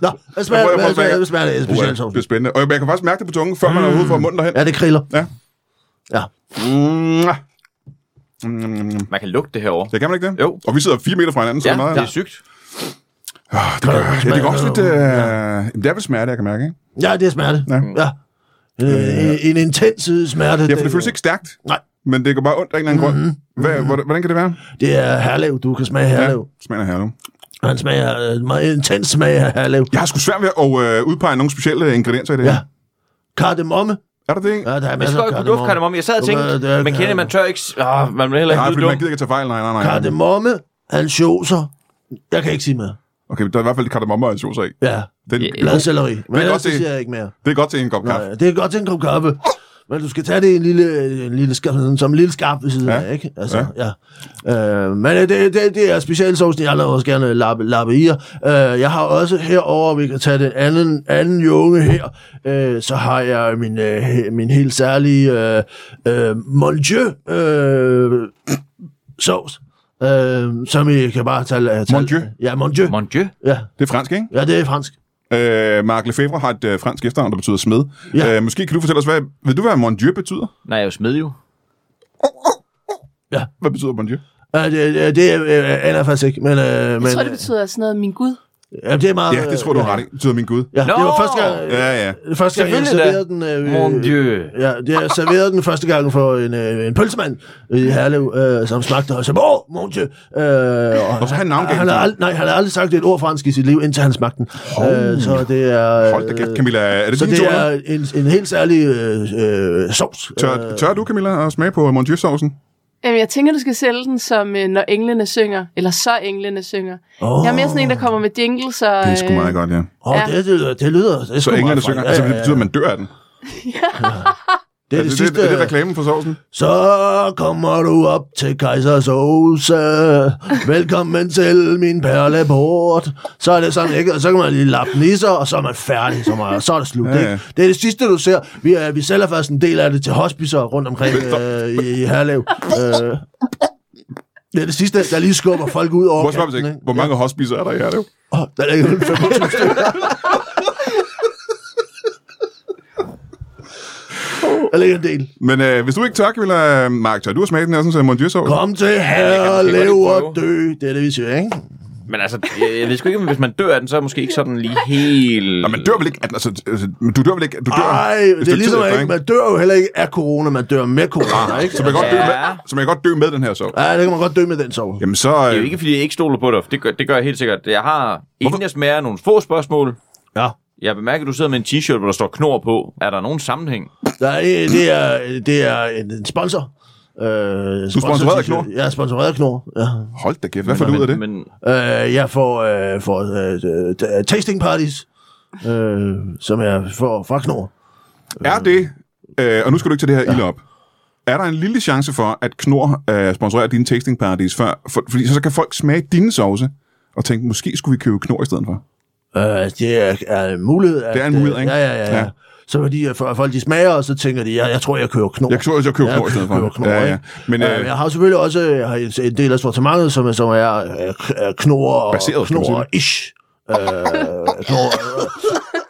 S4: Nå, hvad smager,
S1: Jeg prøver- jeg prøver
S4: hvad
S1: at smage.
S4: smager, hvad smager det?
S1: Uha,
S4: Specielt
S1: Det er spændende. Og jeg, jeg kan faktisk mærke det på tungen, før man er ude fra munden derhen.
S4: Ja, det kriller.
S1: Ja.
S4: Ja.
S1: Mm. Mm, mm, mm, mm.
S3: Man kan lugte det herovre.
S1: Ja, kan man ikke det?
S3: Jo.
S1: Og vi sidder fire meter fra hinanden, så
S3: Ja,
S1: det er meget...
S3: det er sygt.
S1: Ah, det, gør, ja, det er også lidt... Øh, jamen, det er vel smerte, jeg kan mærke, ikke?
S4: Ja, det er smerte.
S1: Ja.
S4: ja. Øh, en intens øh, smerte.
S1: Ja, for det føles ikke stærkt,
S4: Nej, Mhm.
S1: men det går bare ondt af en eller anden grund. Hvad, hvordan, hvordan kan det være?
S4: det er herlev. Du kan smage herlev.
S1: Ja, smagen af herlev.
S4: Ja. Han smager øh, meget intens smag af herlev.
S1: Jeg har sgu svært ved at øh, udpege nogle specielle ingredienser i det her.
S4: Ja. Kardemomme.
S1: Er der det?
S4: Ja, der er
S3: Jeg
S4: masser
S3: skal
S4: af
S3: ikke kunne dufte
S4: kardemomme.
S3: kardemomme. Jeg sad og tænkte,
S4: Øh, det er
S3: man kender, man tør ikke... s- Ah, man vil heller
S1: Nej,
S3: ikke
S1: fordi
S3: lyde
S1: man
S3: dum.
S1: gider ikke tage fejl. Nej, nej, nej.
S4: Kardemomme, ansjoser. Jeg kan ikke sige mere.
S1: Okay, der er i hvert fald kardemomme og ansjoser i.
S4: Ja,
S1: Den,
S3: Ja.
S4: bladcelleri. Men
S1: godt
S4: ellers det
S1: se.
S4: siger jeg ikke mere.
S1: Det er godt til en kop kaffe.
S4: Nej, Øh, det er godt til en kop kaffe. Men du skal tage det i en lille, en lille skarp, som en lille skarp ved siden
S1: Ja.
S4: ja. af, ikke? Altså, ja. ja. Øh, men øh, det, det, det er specialsovsen, jeg laver også gerne lappe, lappe i. Øh, jeg har også herover, vi kan tage den anden, anden junge her, øh, så har jeg min, øh, he- min helt særlige øh, øh, Mon Dieu øh, [CLEARS THROAT] sovs, øh, som I kan bare tage... øh, tage
S1: Mon Dieu?
S4: Ja, Mon Dieu.
S3: Mon Dieu.
S4: Ja.
S1: Det er fransk, ikke?
S4: ja, det er fransk.
S1: Øh, Mark Lefebvre har et øh, fransk efternavn, der betyder smed.
S4: Ja.
S1: Øh, måske kan du fortælle os, hvad, ved du, hvad mon dieu betyder?
S3: Nej, jeg er jo smed jo.
S1: Hvad betyder mon dieu?
S4: Ja, det, det, det øh, aner jeg faktisk ikke, men... Øh, jeg men,
S2: Jeg tror, det
S4: øh,
S2: betyder sådan noget, min Gud.
S4: Ja, det er meget... øh,
S1: Ja, det tror du har ret i. Det betyder min gud.
S4: Ja, det var
S3: Nå!
S4: første gang,
S1: Ja, ja.
S4: øh, første gang jeg
S3: Selvfølgelig da.
S4: serverede den... Øh,
S3: Mon Dieu.
S4: Ja, det jeg serverede den første gang for en, øh, en pølsemand i Herlev, øh, som smagte og sagde, åh, mon Dieu. Øh,
S1: Og så han navngav
S4: han
S1: den.
S4: har ald- Nej, han har aldrig sagt et ord fransk i sit liv, indtil han smagte den. Øh, så det er... øh,
S1: Hold da kæft, Camilla. Er det
S4: Så
S1: din
S4: det
S1: tur?
S4: er
S1: Er...
S4: en, en helt særlig øh, øh, sovs.
S1: Tør, tør du, Camilla, at smage på mon dieu saucen
S2: Jamen, jeg tænker, du skal sælge den som, øh, når englene synger. Eller så englene synger.
S4: Åh.
S2: Oh. Jeg er mere sådan en, der kommer med jingles og... øh,
S1: Det er sgu meget godt, ja.
S4: Åh,
S2: Ja.
S4: det, det, det lyder... Det er
S1: Så
S4: sgu
S1: englerne
S4: meget
S1: synger.
S4: fransk.
S1: Altså,
S4: Ja,
S1: det
S4: ja, ja.
S1: betyder, at man dør af den.
S4: Det
S1: Er
S4: er
S1: det,
S4: det
S1: det,
S4: sidste...
S1: er det reklamen for sovsen?
S4: Så kommer du op til Kejsers Åse. Velkommen til min perleport. Så er det sådan, ikke? Og så kan man lige lappe den i sig, og så er man færdig. Så, meget, og så er det slut,
S1: Ja, ja.
S4: ikke? Det er det sidste, du ser. Vi, er, vi sælger faktisk en del af det til hospicer rundt omkring øh, i, i Herlev. Øh, det er det sidste, der lige skubber folk ud over
S1: Hvor, spørger man sig
S4: kanten,
S1: ikke? Hvor mange hospicer er der i Herlev?
S4: Åh, der ligger en 25 stykker. Der ligger en del.
S1: Men øh, hvis du ikke tør, Camilla, øh, Mark, tør du at smage den her sådan, så mon dieu sauce?
S4: Kom til
S3: kan
S4: her,
S3: måske
S4: lev
S3: godt
S4: og dø. Det er det, vi siger, ikke?
S3: Men altså, jeg, jeg ved sgu ikke, om hvis man dør af den, så er det måske ikke sådan lige helt...
S1: Nå, man dør vel ikke? af den, Altså, altså, men du dør vel ikke? Du dør
S4: Nej,
S1: et
S4: det er
S1: stykke
S4: ligesom,
S1: tid
S4: at
S1: efter,
S4: ikke, man dør jo heller ikke af corona, man dør med corona, ikke?
S1: Ah, Så man kan godt dø med,
S3: Ja.
S1: så man kan godt dø med den her sovs.
S4: Ja, det kan man godt dø med den sove.
S1: Jamen så...
S3: Det er
S1: øh,
S3: jo ikke, fordi jeg ikke stoler på dig. Det gør, det gør jeg helt sikkert. Jeg har inden jeg smager nogle få spørgsmål.
S4: Ja.
S3: Jeg bemærker, at du sidder med en t-shirt, hvor der står knor på. Er der nogen sammenhæng?
S4: Nej, det er, det er en en sponsor. Øh, du
S1: sponsoreret af Knorr?
S4: Jeg er sponsoreret af Knorr, ja.
S1: Hold da kæft, hvad får du ud af det?
S3: Men, men
S4: Øh, jeg får, øh, får øh, øh, tasting parties, øh, som jeg får fra Knorr.
S1: Er det, øh, og nu skal du ikke tage det her ja. ild op, er der en lille chance for, at Knor øh, sponsorerer dine tasting parties før? For, fordi så, så kan folk smage dine sovse og tænke, måske skulle vi købe Knor i stedet for.
S4: Øh, det er, er en mulighed. At,
S1: Det er en mulighed,
S4: øh,
S1: ikke?
S4: Ja, ja, ja.
S1: Ja.
S4: ja. Så fordi at for- folk de smager, og så tænker de, jeg, jeg tror, jeg kører knor.
S1: Jeg tror, jeg køber
S4: Ja,
S1: Knor i stedet for.
S4: køber Knorr,
S1: ja, ja.
S4: ikke?
S1: Men
S4: Øh,
S1: øh,
S4: jeg har jo selvfølgelig også jeg har en en del af sortimentet, som, som er øh, k- øh, knor og
S1: Baseret, skal man sige
S4: knor ish. Øh, knor, øh,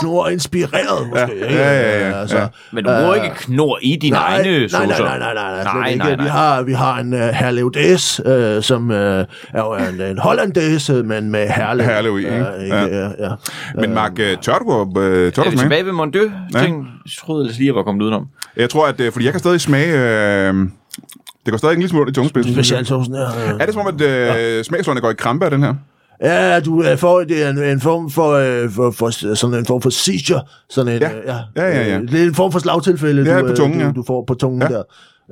S4: knor inspireret, måske.
S1: Ja,
S4: ikke?
S1: ja, ja, ja,
S4: Øh, Altså,
S1: ja.
S3: men du bruger ikke knor i dine
S4: Nej, nej,
S3: egne
S4: nej, nej,
S3: saucer.
S4: nej, nej, nej,
S3: Nej,
S4: nej,
S3: nej,
S4: nej, Vi
S3: nej.
S4: har, vi har en uh, herlev DS, uh, som uh, er jo en, en hollandaise, men med herlev.
S1: Herlev i, ikke?
S4: Øh, ikke?
S1: Ja.
S4: Ja. Ja, ja.
S3: Øhm,
S1: men Mark, øh, tør du, at, øh, tør
S3: Er
S1: du
S3: vi
S1: smage?
S3: tilbage ved Mon Dieu? Ja. Tænk, jeg troede ellers lige, jeg var kommet udenom.
S1: Jeg tror, at øh, fordi jeg kan stadig smage... Øh, det går stadig en lille smule ondt i tungespidsen.
S4: Specialsaucen, ja.
S1: Er det som om, at øh, smagsløgene går i krampe af den her?
S4: Ja, du øh, får det er en, en form for, øh, for, for, sådan en form for seizure, sådan en,
S1: Ja.
S4: øh, ja,
S1: Ja, ja, ja.
S4: øh, Det er en form for slagtilfælde,
S1: Ja,
S4: du,
S1: på
S4: øh,
S1: tungen,
S4: du,
S1: ja.
S4: du får på tungen
S1: Ja.
S4: ja.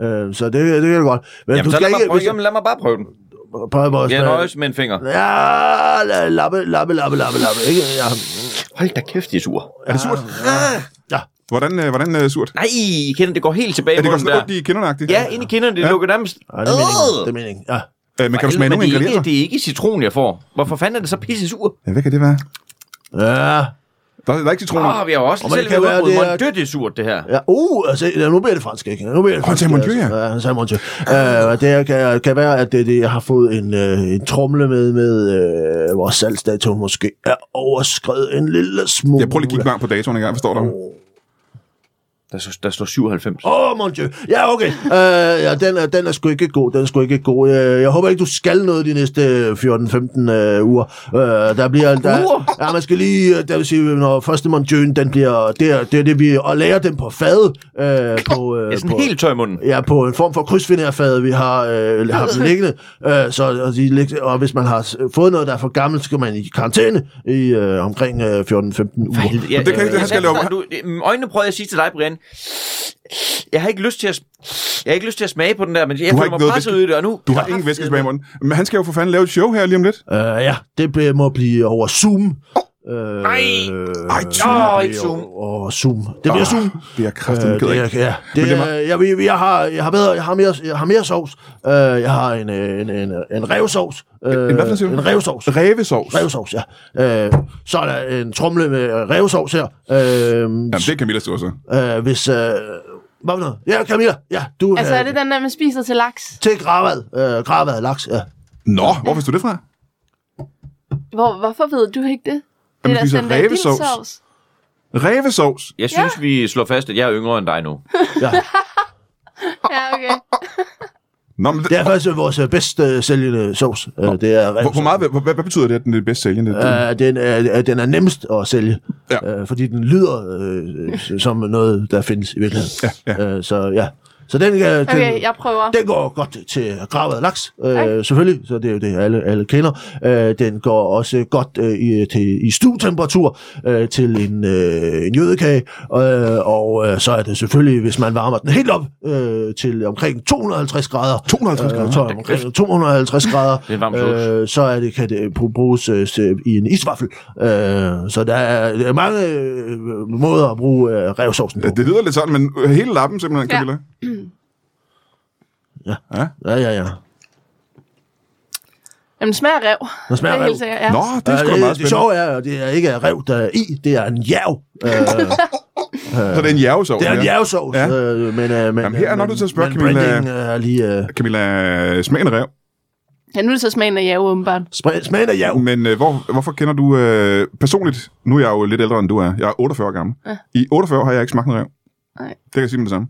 S4: der. Øh, så det, det kan du godt. Men
S3: Jamen,
S4: du
S3: så
S4: skal
S3: lad, mig
S4: ikke...
S3: prøve, jamen, lad mig bare prøve den.
S4: prøv, prøv,
S3: Jeg nøjes med en finger.
S4: Ja, la- lappe, lappe, lappe, lappe, lappe. Ikke? Ja.
S3: Hold da kæft, det er sur.
S1: Er det surt?
S4: ja.
S1: Hvordan, øh, hvordan øh, surt?
S3: Nej, I kender, det går helt tilbage
S1: Er det
S3: på
S1: går
S3: den
S1: sådan
S3: der.
S1: ondt i kinderne
S3: Ja, ind i kinderne, det
S1: Ja.
S3: lukker nærmest.
S4: ja, det er meningen. Det er meningen. Ja.
S1: Øh, men kan du smage
S3: Men
S1: nogle
S3: det er, ikke,
S1: ingredienser?
S3: det er ikke citron, jeg får. Hvorfor fanden er det så pisse sur?
S1: Ja, hvad kan det være?
S4: Ja.
S1: Der, der er ikke citroner.
S3: Åh, vi har jo også
S4: Og man
S3: selv
S4: kan
S3: ved
S4: være,
S3: udbrud.
S4: det er-
S3: Mon Dieu, det er surt, det her.
S4: Ja, uh, altså, ja, nu bliver det fransk, ikke? Nu bliver det
S1: Åh, han sagde mon Dieu,
S4: altså.
S1: ja.
S4: ja. han sagde Monty. Uh, det er- kan, kan være, at det, det, jeg har fået en, øh, en tromle med, med øh, vores salgsdato måske er overskrevet en lille smule.
S3: uh.
S1: Jeg prøver lige at kigge varmt på datoen en gang, hvad står der?
S3: Der, står- der står 97.
S4: Åh, oh, mon dieu. Ja, okay. Øh, ja, den, er, den er sgu ikke god. Den er sgu ikke god. Øh, jeg håber ikke, du skal noget de næste 14-15 øh, uger. Øh, der bliver... Der, ja, man skal lige... øh, Der vil sige, når første mon dieu, den bliver... Det er det, er det vi... Og lærer den på fad. Øh, på, øh,
S3: Jeg er sådan
S4: på,
S3: helt tør i munden.
S4: Ja, på en form for krydsfinerfad, vi har øh, haft liggende. Øh, så, og, de, lig- og hvis man har s- fået noget, der er for gammelt, så skal man i karantæne i øh, omkring øh, 14-15 uger.
S3: helvede.
S1: det kan ikke- det her skal jeg
S3: du, øh, Øjnene prøvede jeg at sige til dig, Brian. Jeg har ikke lyst til at, jeg har ikke lyst til at smage på den der, men jeg
S1: har
S3: føler
S1: ikke
S3: mig
S1: noget
S3: presset
S1: væske-
S3: ud i det, og nu...
S1: Du har ingen væske tilbage i munden. Men han skal jo for fanden lave et show her lige om lidt.
S4: Øh, ja, det bliver, må blive over Zoom. Øh,
S3: Ej.
S1: Ej, Zoom. Ah,
S3: Åh,
S4: det
S3: ikke
S4: bliver
S3: Zoom.
S4: Over, over Zoom. Det bliver Zoom.
S1: Det er kraftigt,
S4: Øh,
S1: øh,
S4: det
S1: jeg
S4: er,
S1: ikke.
S4: ja, det
S1: det er
S4: er, jeg, jeg, jeg, har, jeg har bedre, jeg har mere, jeg har mere sovs. Øh, jeg har en, øh, en, en, en revsovs. Øh,
S1: en hvad for en, siger du?
S4: en revsovs.
S1: Rævesovs.
S4: Revsovs, ja. Øh, så er der en tromle med revsovs her. Øh,
S1: Jamen, det kan Camilla stå så.
S4: øh, hvis, øh, hvad for noget? Ja, Camilla, ja, du øh,
S2: Altså, er det den der, man spiser til laks?
S4: til gravad, øh, gravad laks, ja.
S1: Nå, hvor fik du det fra?
S2: Hvor, hvorfor ved du ikke det?
S1: Jamen,
S2: Det er
S1: spiser
S2: da standard
S1: rævesovs.
S2: livsovs.
S1: Rævesovs.
S3: Jeg synes, ja. vi slår fast, at jeg er yngre end dig nu.
S4: ja.
S2: Ja,
S1: [LAUGHS]
S2: okay.
S1: Nå, men det,
S4: Det er faktisk øh, vores øh, bedst øh, sælgende sovs. Øh, det er
S1: hvor,
S4: revsovs.
S3: altså-
S1: hvor meget, hvad, hvad, hvad betyder det, at den er det bedst sælgende? Uh,
S4: Øh, den, er, øh, den er nemmest at sælge,
S1: Ja.
S4: ja. øh, fordi den lyder øh, øh, som noget, der findes i virkeligheden.
S1: Ja, ja.
S4: Øh, så ja, så den, øh, den,
S2: Okay, jeg prøver.
S4: den går godt til gravet laks, øh,
S2: Tak.
S4: selvfølgelig, så det er jo det, alle, alle kender. Øh, den går også godt øh, i, til, i stuetemperatur øh, til en, øh, en jødekage, øh, og øh, så er det selvfølgelig, hvis man varmer den helt op øh, til omkring 250 grader,
S1: 250 grader?
S4: øh, så er det omkring 250 grader,
S3: Det er en varm sauce.
S4: øh, så er det, kan det bru- bruges øh, til- i en isvaffel. Øh, så der er, der er mange øh, måder at bruge øh, revsovsen på.
S1: det lyder lidt sådan, men øh, hele lappen simpelthen,
S2: Ja.
S1: Camilla.
S4: Ja.
S1: ja.
S4: Ja, ja, ja.
S2: Jamen, den smager af rev.
S4: Den smager
S2: det er
S4: af
S2: helt
S4: rev.
S2: sikkert, ja. [LAUGHS]
S1: Nå, det er sgu
S4: Ja,
S1: da meget
S4: det
S1: spændende.
S4: sjove er, at det er ikke rev, der er i, det er en jerv. Øh,
S1: Så det er en jævesovs.
S4: det er en
S1: ja.
S4: jervsovs,
S1: Ja.
S4: ja. øh, men, øh, men...
S1: Jamen, her er nok
S4: øh, men-
S1: nødt til at spørge,
S4: men
S1: Camilla.
S4: brandingen er lige... Øh,
S1: Camilla, smagen af rev.
S2: Ja, nu er det så smagen af jæve, åbenbart.
S4: spre- smagen af jerv.
S1: Men øh, hvor, hvorfor kender du... Øh, personligt, nu er jeg jo lidt ældre, end du er. Jeg er 48 år gammel. Ja. I 48 har jeg ikke smagt en rev.
S2: Nej.
S1: Det kan jeg sige med det samme.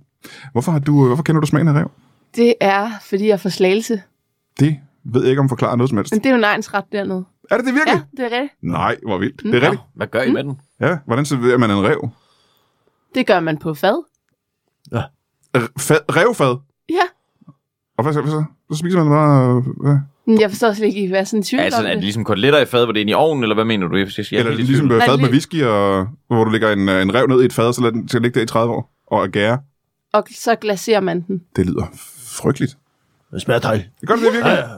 S1: Hvorfor, har du, øh, hvorfor kender du smagen af rev?
S2: Det er, fordi jeg får slagelse.
S1: Det ved jeg ikke, om forklarer noget som helst.
S2: Men det er jo en egensret dernede.
S1: Er det det
S2: Ja, Mm.
S1: virkelig?
S2: det er rigtigt.
S1: Ja. Nej, hvor vildt. Det er rigtigt.
S3: Hvad gør I med den?
S1: Ja, hvordan serverer man en rev?
S2: Det gør man på fad.
S1: R- fad, revfad?
S2: Ja.
S1: Og hvad så? Hvad så? så spiser man det bare... Øh, hvad?
S2: Men jeg forstår slet ikke, hvad sådan en tvivl
S3: Altså,
S2: om
S3: er det
S2: det.
S3: ligesom koteletter i fad, hvor det er inde i ovnen, eller hvad mener du? Jeg, jeg, jeg,
S1: Eller ligesom
S2: Nej,
S1: øh, fad
S2: lige-
S1: med whisky, og, hvor du lægger en, øh, en rev ned i et fad, og så lader den skal ligge der i 30 år og er gære.
S2: Og så glaserer man den.
S1: Det lyder frygteligt. Mm.
S4: Det smager dejligt.
S1: Det gør det, det virkelig.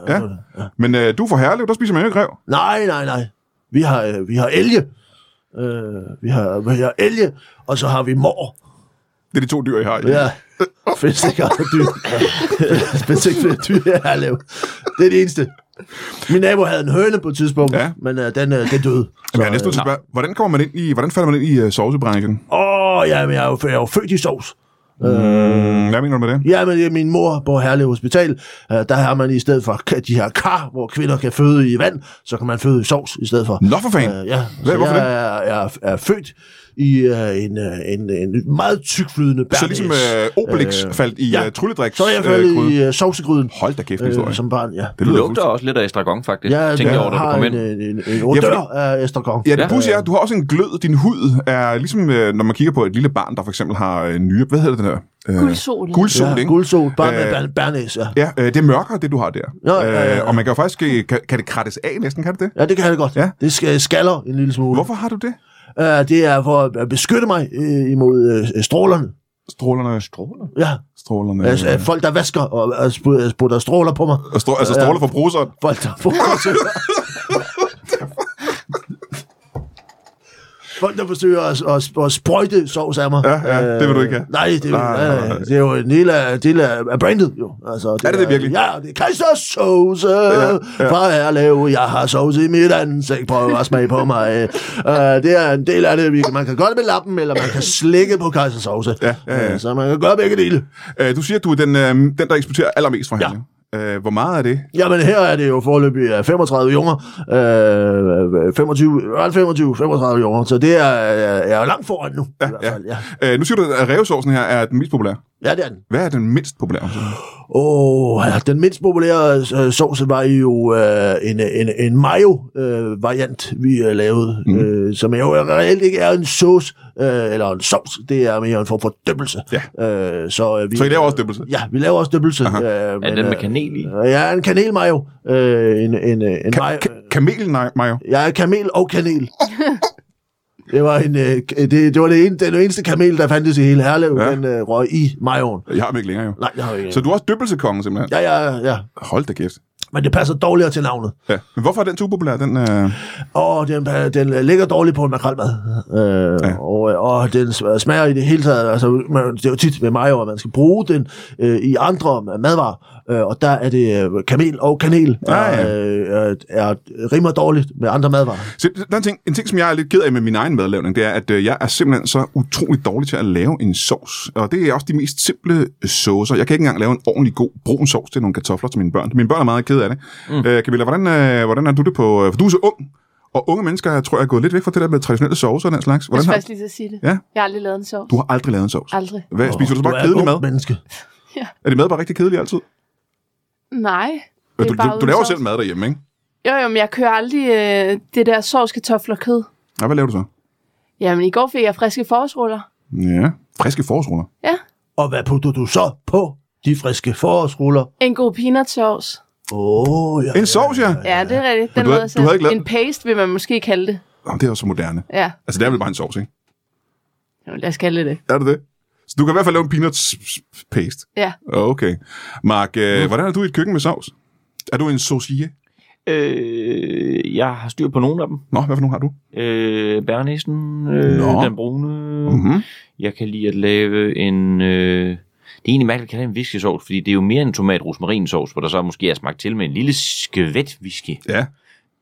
S1: Ja. Men øh, du er fra Herlev, der spiser man jo ikke rev.
S4: Nej, nej, nej. Vi har, øh, vi har elge. Øh, vi, har, vi har elge, og så har vi mor.
S1: Det er de to dyr, I har. I.
S4: Ja. [LAUGHS] Findes ikke andre
S1: [LAUGHS]
S4: dyr. Findes ikke flere dyr, jeg har lavet. Det er det eneste. Min nabo havde en høne på et tidspunkt,
S1: Ja.
S4: ja. men øh, den, øh, den døde. Så, øh,
S1: Jeg er næsten nødt til at spørge, hvordan kommer man ind i, hvordan falder man ind i uh, sovsebranchen?
S4: Åh, oh, jamen, jeg er jo, jeg er jo født i sovs.
S1: Mm. Hvad mener du med det?
S4: Ja, men det er min mor på Herlev Hospital, øh, der har man i stedet for ka- de her kar, hvor kvinder kan føde i vand, så kan man føde i sovs i stedet for.
S1: Nå for fanden.
S4: Øh, ja,
S1: Hvad,
S4: så
S1: hvorfor
S4: jeg er, jeg er, er født i øh, en, øh, en, en meget tykflydende
S1: det?
S4: bernæs.
S1: Så ligesom uh, Obelix øh, faldt i ja.
S4: ja.
S1: uh, trylledriks
S4: Så er jeg faldet
S1: øh, gryde.
S4: i øh, sovsegryden
S1: Hold da kæft, en historie.
S4: øh, som barn, ja.
S1: Det
S3: Du
S1: lyder
S3: lugter
S1: fuldstændig-
S3: også lidt af estragon, faktisk.
S4: Ja,
S3: Ja, tænker jeg over, da du
S4: har
S3: kom
S4: en,
S3: ind.
S4: en, en, en odør
S1: Ja,
S4: ja, af Estragon.
S1: Ja, det
S3: Ja.
S1: pudsige er, at du har også en glød. Din hud er ligesom, øh, når man kigger på et lille barn, der for eksempel har øh, nyre... Hvad hedder den her? Øh,
S2: Guldsol.
S1: Guldsol,
S4: ja,
S1: ikke?
S4: guldsol, bare med
S1: Øh,
S4: bern- bernæs, ja.
S1: Ja, øh, det er mørkere, det du har der.
S4: Nå, ja, ja, ja.
S1: Øh, og man kan jo faktisk... øh, Kan, kan det krattes af næsten, kan det det?
S4: Ja, det kan jeg godt.
S1: Ja.
S4: Ja. Det sk- skaller en lille smule.
S1: Hvorfor har du det?
S4: Øh, det er for at beskytte mig øh, imod øh, strålerne.
S1: Strålerne... Stråler?
S4: Ja,
S1: Strålerne...
S4: Altså, øh, folk, der vasker og, og sp- sputter stråler på mig.
S1: Og strå, altså stråler fra bruseren.
S4: Folk, der forsøger... folk, der forsøger at, at, at sprøjte sovs af mig.
S1: Ja, ja, det vil du ikke have.
S4: Nej, det, nej,
S1: Nej, nej,
S4: nej,
S1: nej.
S4: nej. det er jo en del af, del af, af brandet, jo. Altså,
S1: Er det det virkelig?
S4: Ja, det er Kaiser Sovse ja, ja. fra Herlev. Jeg har sovse i mit ansigt. Prøv at smage
S1: [LAUGHS]
S4: på mig. uh, det er en del af det. Vi- Man kan gøre det med lappen, eller man kan slikke på Kaiser Sovse.
S1: Ja, ja, ja.
S4: Så man kan gøre begge dele.
S1: Øh, du siger, at du er den, øh, den der eksporterer allermest fra
S4: Ja.
S1: Herning. Øh, hvor meget er det?
S4: Jamen her er det jo foreløbig øh, 35 junger, øh, 25, øh, 25, 35 junger, så det er, øh, jeg er langt foran nu. Ja, i hvert
S1: ja.
S4: fald, ja.
S1: Øh, nu siger du, at revsovsen her er den mest populære.
S4: ja det er den.
S1: Hvad er den mindst populære?
S4: Åh, oh, ja, den mindst populære øh, sovs var jo øh, en, en, en mayo-variant, vi øh, lavede,
S1: Mhm.
S4: mm. øh, som jo reelt ikke er en sauce, øh, eller en sovs, det er mere en form for døbelse.
S1: Ja.
S4: Øh, så, øh, vi,
S1: Så I laver også døbelse?
S4: Ja, vi laver også døbelse. Øh,
S3: Er den med kanel i?
S4: Øh, ja, en kanelmayo. Øh, en, en, øh, en mayo.
S1: Ka- ka- kamelen, nej, Majo.
S4: Jeg er kamel og kanel. Det var, en, øh, det, det var det en, den eneste kamel, der fandtes i hele Herlev,
S1: Ja.
S4: ja. den øh, røg i majoen.
S1: Jeg har dem ikke længere, jo.
S4: Nej, jeg har ikke.
S1: Så du er også døbelsekongen, simpelthen?
S4: Ja, ja, ja.
S1: Hold da kæft.
S4: Men det passer dårligere til navnet.
S1: Ja. Men hvorfor er den så upopulær? Den, øh...
S4: Og den, pa- den øh, ligger dårligt på en makrelmad. Øh,
S1: Ja.
S4: ja. og, øh, og den sm- smager i det hele taget. Altså, man, det er jo tit med mayo, at man skal bruge den øh, i andre ma- madvarer. Øh, og der er det øh, kamel og kanel, der
S1: Ja, ja.
S4: Øh, er, er, rimer dårligt med andre madvarer.
S1: Så der er en ting, en ting, som jeg er lidt ked af med min egen madlavning, det er, at øh, jeg er simpelthen så utrolig dårlig til at lave en sovs. Og det er også de mest simple saucer. Jeg kan ikke engang lave en ordentlig god brun sovs til nogle kartofler til mine børn. Mine børn er meget ked af det. Mm. Øh, Camilla, hvordan, øh, hvordan er du det på... øh, For du er så ung, og unge mennesker, tror jeg, er gået lidt væk fra det der med traditionelle saucer og den slags.
S2: Jeg
S1: Hvordan
S2: skal
S1: har,
S2: faktisk lige til at sige det.
S1: Ja.
S2: Jeg har aldrig lavet en sovs.
S1: du har aldrig lavet en sovs.
S2: Aldrig.
S1: Hvad, spiser du så
S4: Åh,
S1: bare
S4: er
S1: kedelig
S4: et
S1: mad?
S4: ungt menneske.
S1: Er det mad bare rigtig kedelig altid?
S2: Nej.
S1: Du,
S2: det er
S1: du,
S2: bare
S1: du
S2: uden
S1: laver
S2: sovs.
S1: selv mad derhjemme, ikke?
S2: Jo, jo, men jeg kører aldrig øh, det der sovs, kartofler og kød.
S1: Ja, hvad laver du så?
S2: Jamen, i går fik jeg friske forårsruller.
S1: Ja, friske forårsruller.
S2: Ja.
S4: Og hvad putter du så på de friske forårsruller?
S2: En god peanut sovs.
S4: Åh, oh, ja.
S1: En sovs, ja.
S2: Ja, det er rigtigt. Den
S1: du havde-
S2: lavede jeg
S1: du havde
S2: selv.
S1: ikke lavet-
S2: En paste vil man måske kalde det.
S1: Jamen, det er også så moderne.
S2: Ja,
S1: Altså, det er vel bare en sovs, ikke?
S2: jo, lad os kalde det det.
S1: Er det det? Så du kan i hvert fald lave en peanut s- s- paste.
S2: Ja.
S1: Okay. Mark,
S4: Mm.
S1: øh, hvordan er du i et køkken med sovs? Er du en saucier?
S3: Øh, jeg har styr på nogle af dem.
S1: Nå, hvad for nogen har du?
S3: Øh, Bernæsen, øh,
S1: Nå.
S3: den brune.
S4: Mm-hmm.
S1: Mhm.
S3: Jeg kan lide at lave en... Øh, det er egentlig mærkeligt, at kalde det en viskesovs, fordi det er jo mere en tomat rosmarinsovs, hvor der så måske er smagt til med en lille skvæt whisky.
S1: Ja.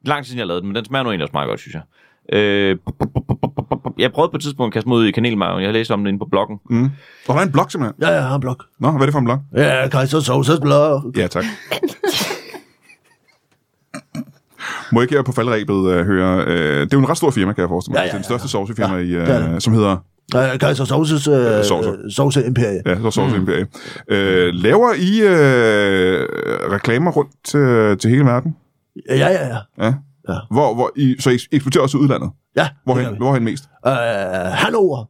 S3: Lang tid siden jeg lavede den, men den smager nu egentlig også meget godt, synes jeg. Øh, jeg prøvede på et tidspunkt at kaste mig ud i kanelmagen. Jeg har læst om det inde på bloggen.
S1: Mm. Og der er en blok, simpelthen.
S4: Ja, ja, en blok.
S1: Nå, hvad er det for en blok?
S4: Ja, kejser sovses blok.
S1: Ja, tak. Må jeg ikke her på faldrebet øh, høre... Øh, det er jo en ret stor firma, kan jeg forestille mig.
S4: Ja, ja,
S1: Det er den
S4: ja.
S1: største saucefirma, i,
S4: det er
S1: øh, som hedder...
S4: Ja, kejser sovses
S1: Øh, sovser.
S4: øh, sovse imperie.
S1: Ja, så Sauce mm. Imperium. Øh, laver I øh, reklamer rundt øh, til hele verden?
S4: Ja, ja, ja.
S1: Ja.
S4: Ja.
S1: Hvor, hvor I, så I eksporterer også til udlandet?
S4: Ja,
S1: Hvorhen,
S4: det gør vi.
S1: hvorhen mest?
S4: Øh, Hannover.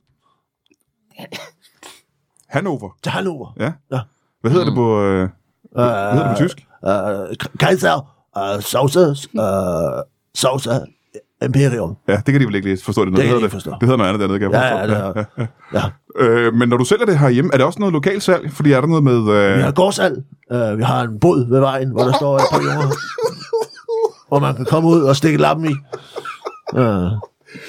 S1: Hannover.
S4: Til Hannover.
S1: Ja.
S4: Ja.
S1: Hvad hedder
S4: Mm.
S1: det på... Øh, hvad hedder det på tysk?
S4: Øh, kejser øh, sovses øh, sovse imperium.
S1: Ja, det kan de vel ikke lige forstå. Det, er noget,
S4: Det kan
S1: hedder
S4: de ikke forstå.
S1: det hedder noget andet dernede, kan jeg
S4: Ja,
S1: forstå.
S4: ja,
S1: [LAUGHS]
S4: det er- ja.
S1: Øh, men når du sælger det herhjemme, er det også noget lokalt salg? Fordi er der noget med... Øh...
S4: Vi har gårdsal. Øh, vi har en båd ved vejen, hvor der står et par junger. hvor man kan komme ud og stikke lappen i. Øh,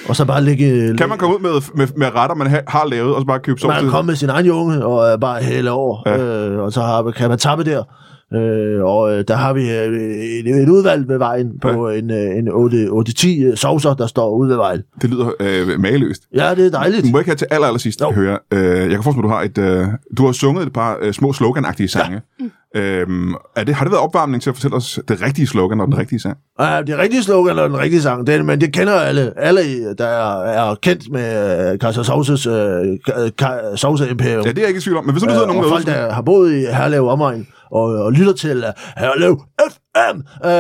S4: og så bare ligge...
S1: Kan man komme ud med, med, med retter, man ha- har lavet, og så bare købe sovs?
S4: man kan
S1: til?
S4: komme med sin egen junge og øh, bare hælde over,
S1: Ja.
S4: ja. øh, og så har, kan man tappe der. Øh, og øh, der har vi øh, et, et udvalg ved vejen på ja. en, øh, en 8-10 øh, sovser, der står ude ved vejen.
S1: Det lyder øh, mageløst.
S4: Ja, det er dejligt.
S1: Du må ikke have til aller, aller sidst
S4: Jo.
S1: høre. Øh, jeg kan forstå, at du har et, øh, du har sunget et par øh, små sloganagtige sange. Ja. Øhm, er det, har det været opvarmning til at fortælle os det rigtige slogan og den
S4: Mm.
S1: rigtige sang?
S4: Ja, det rigtige slogan og den rigtige sang, den, men det kender alle. Alle, der er, er kendt med øh, Kaiser Sovses øh, ka, Sovse Imperium.
S1: Ja, det er jeg ikke i tvivl om. Men hvis nu du
S4: Øh,
S1: sidder nogen
S4: og folk,
S1: derude,
S4: der har boet i Herlev omegn og, og lytter til uh, Herlev FM, uh,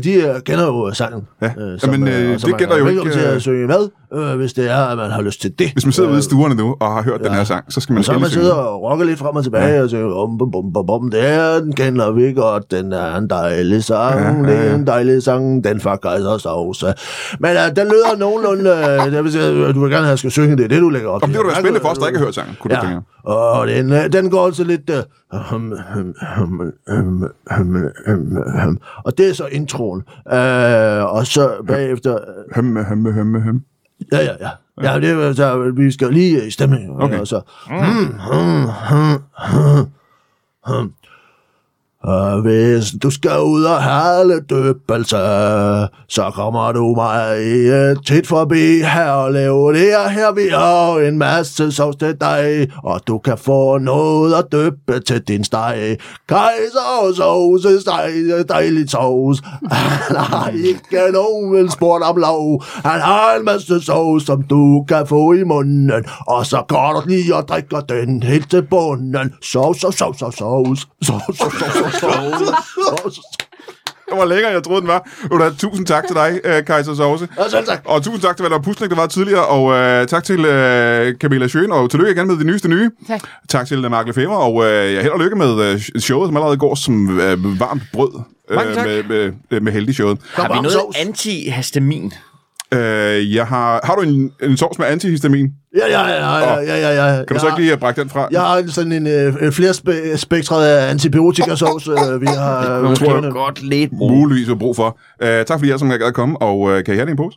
S4: de uh, kender jo sangen.
S1: Ja,
S4: øh,
S1: men, øh,
S4: øh,
S1: det
S4: man er
S1: gælder jo
S4: velkommen
S1: ikke,
S4: til
S1: øh,
S4: at synge med, øh, hvis det er, at man har lyst til det.
S1: hvis man sidder ude i
S4: Øh,
S1: stuerne nu og har hørt ja. den her sang, så skal man
S4: så kan
S1: skille
S4: man sidde
S1: synge.
S4: og rokke lidt frem og tilbage ja. og sige, bum, bum, bum, bum, bum, det er den kender vi godt, den er en dejlig sang,
S1: Ja,
S4: ja,
S1: ja,
S4: ja, det er en dejlig sang, den fra Kaiser Sovse. Men uh, den lyder nogenlunde, uh, det vil sige, øh, du vil gerne have, at jeg skal synge det, er det du lægger op.
S1: Om det var da
S4: Ja,
S1: spændende for os,
S4: øh,
S1: der ikke har hørt sangen, kunne du tænke
S4: Ja,
S1: jer.
S4: og den, øh, den går altså lidt... øh, hum, hum, hum, hum, hum, hum, hum. Og det er så introen. Øh, og så bagefter... øh,
S1: Hømme, hømme, hømme, hømme.
S4: Ja, ja, ja. Ja, det er, så, vi skal jo lige øh, i Altså. stemning.
S1: Okay.
S4: hmm, Og så, hum, hum, hum, hum, hum. Og hmm. Øh, hvis du skal ud og have døbelse, så kommer du mig øh, tit forbi her og laver det her, her vi har en masse sovs til dig, og du kan få noget at døbe til din steg. Kejser og sovse, steg, dejligt sovs. Han har ikke nogen vel spurgt om lov. Han har en masse sovs, som du kan få i munden, og så går du lige og drikker den helt til bunden. Sovs, sovs, sovs, sovs, sovs, sovs, sovs, sovs, sovs, sovs, sovs.
S1: Det var lækker, jeg troede, den var. Ved du hvad, Tusind tak til dig, øh, Kaiser Sause.
S4: Ja, selv tak.
S1: Og tusind tak til Valder Pusnik, der var tidligere, og øh, tak til øh, Camilla Schøen, og tillykke igen med det nyeste nye.
S2: Tak.
S1: Tak til øh, Mark Lefebvre, og øh, jeg held og lykke med øh, showet, som allerede går som øh, varmt brød øh,
S3: Mange tak.
S1: med, med, øh, med, med heldig showet.
S3: Har vi
S4: Kom,
S3: noget
S4: sovs.
S3: antihistamin?
S1: Øh, jeg har, har du en, en sovs med antihistamin?
S4: Ja, ja, ja, ja, ja, ja, ja.
S1: Kan du så ikke lige øh, brække den fra?
S4: Jeg har en- sådan en øh, flere spe- spektret af antibiotikasovs, øh, vi har...
S3: Jeg
S4: Øh,
S3: tror
S4: kørende.
S3: godt lidt, bro.
S1: Muligvis har brug for. Øh, tak fordi jeg som jeg gad at komme, og øh, kan I have det i en pose?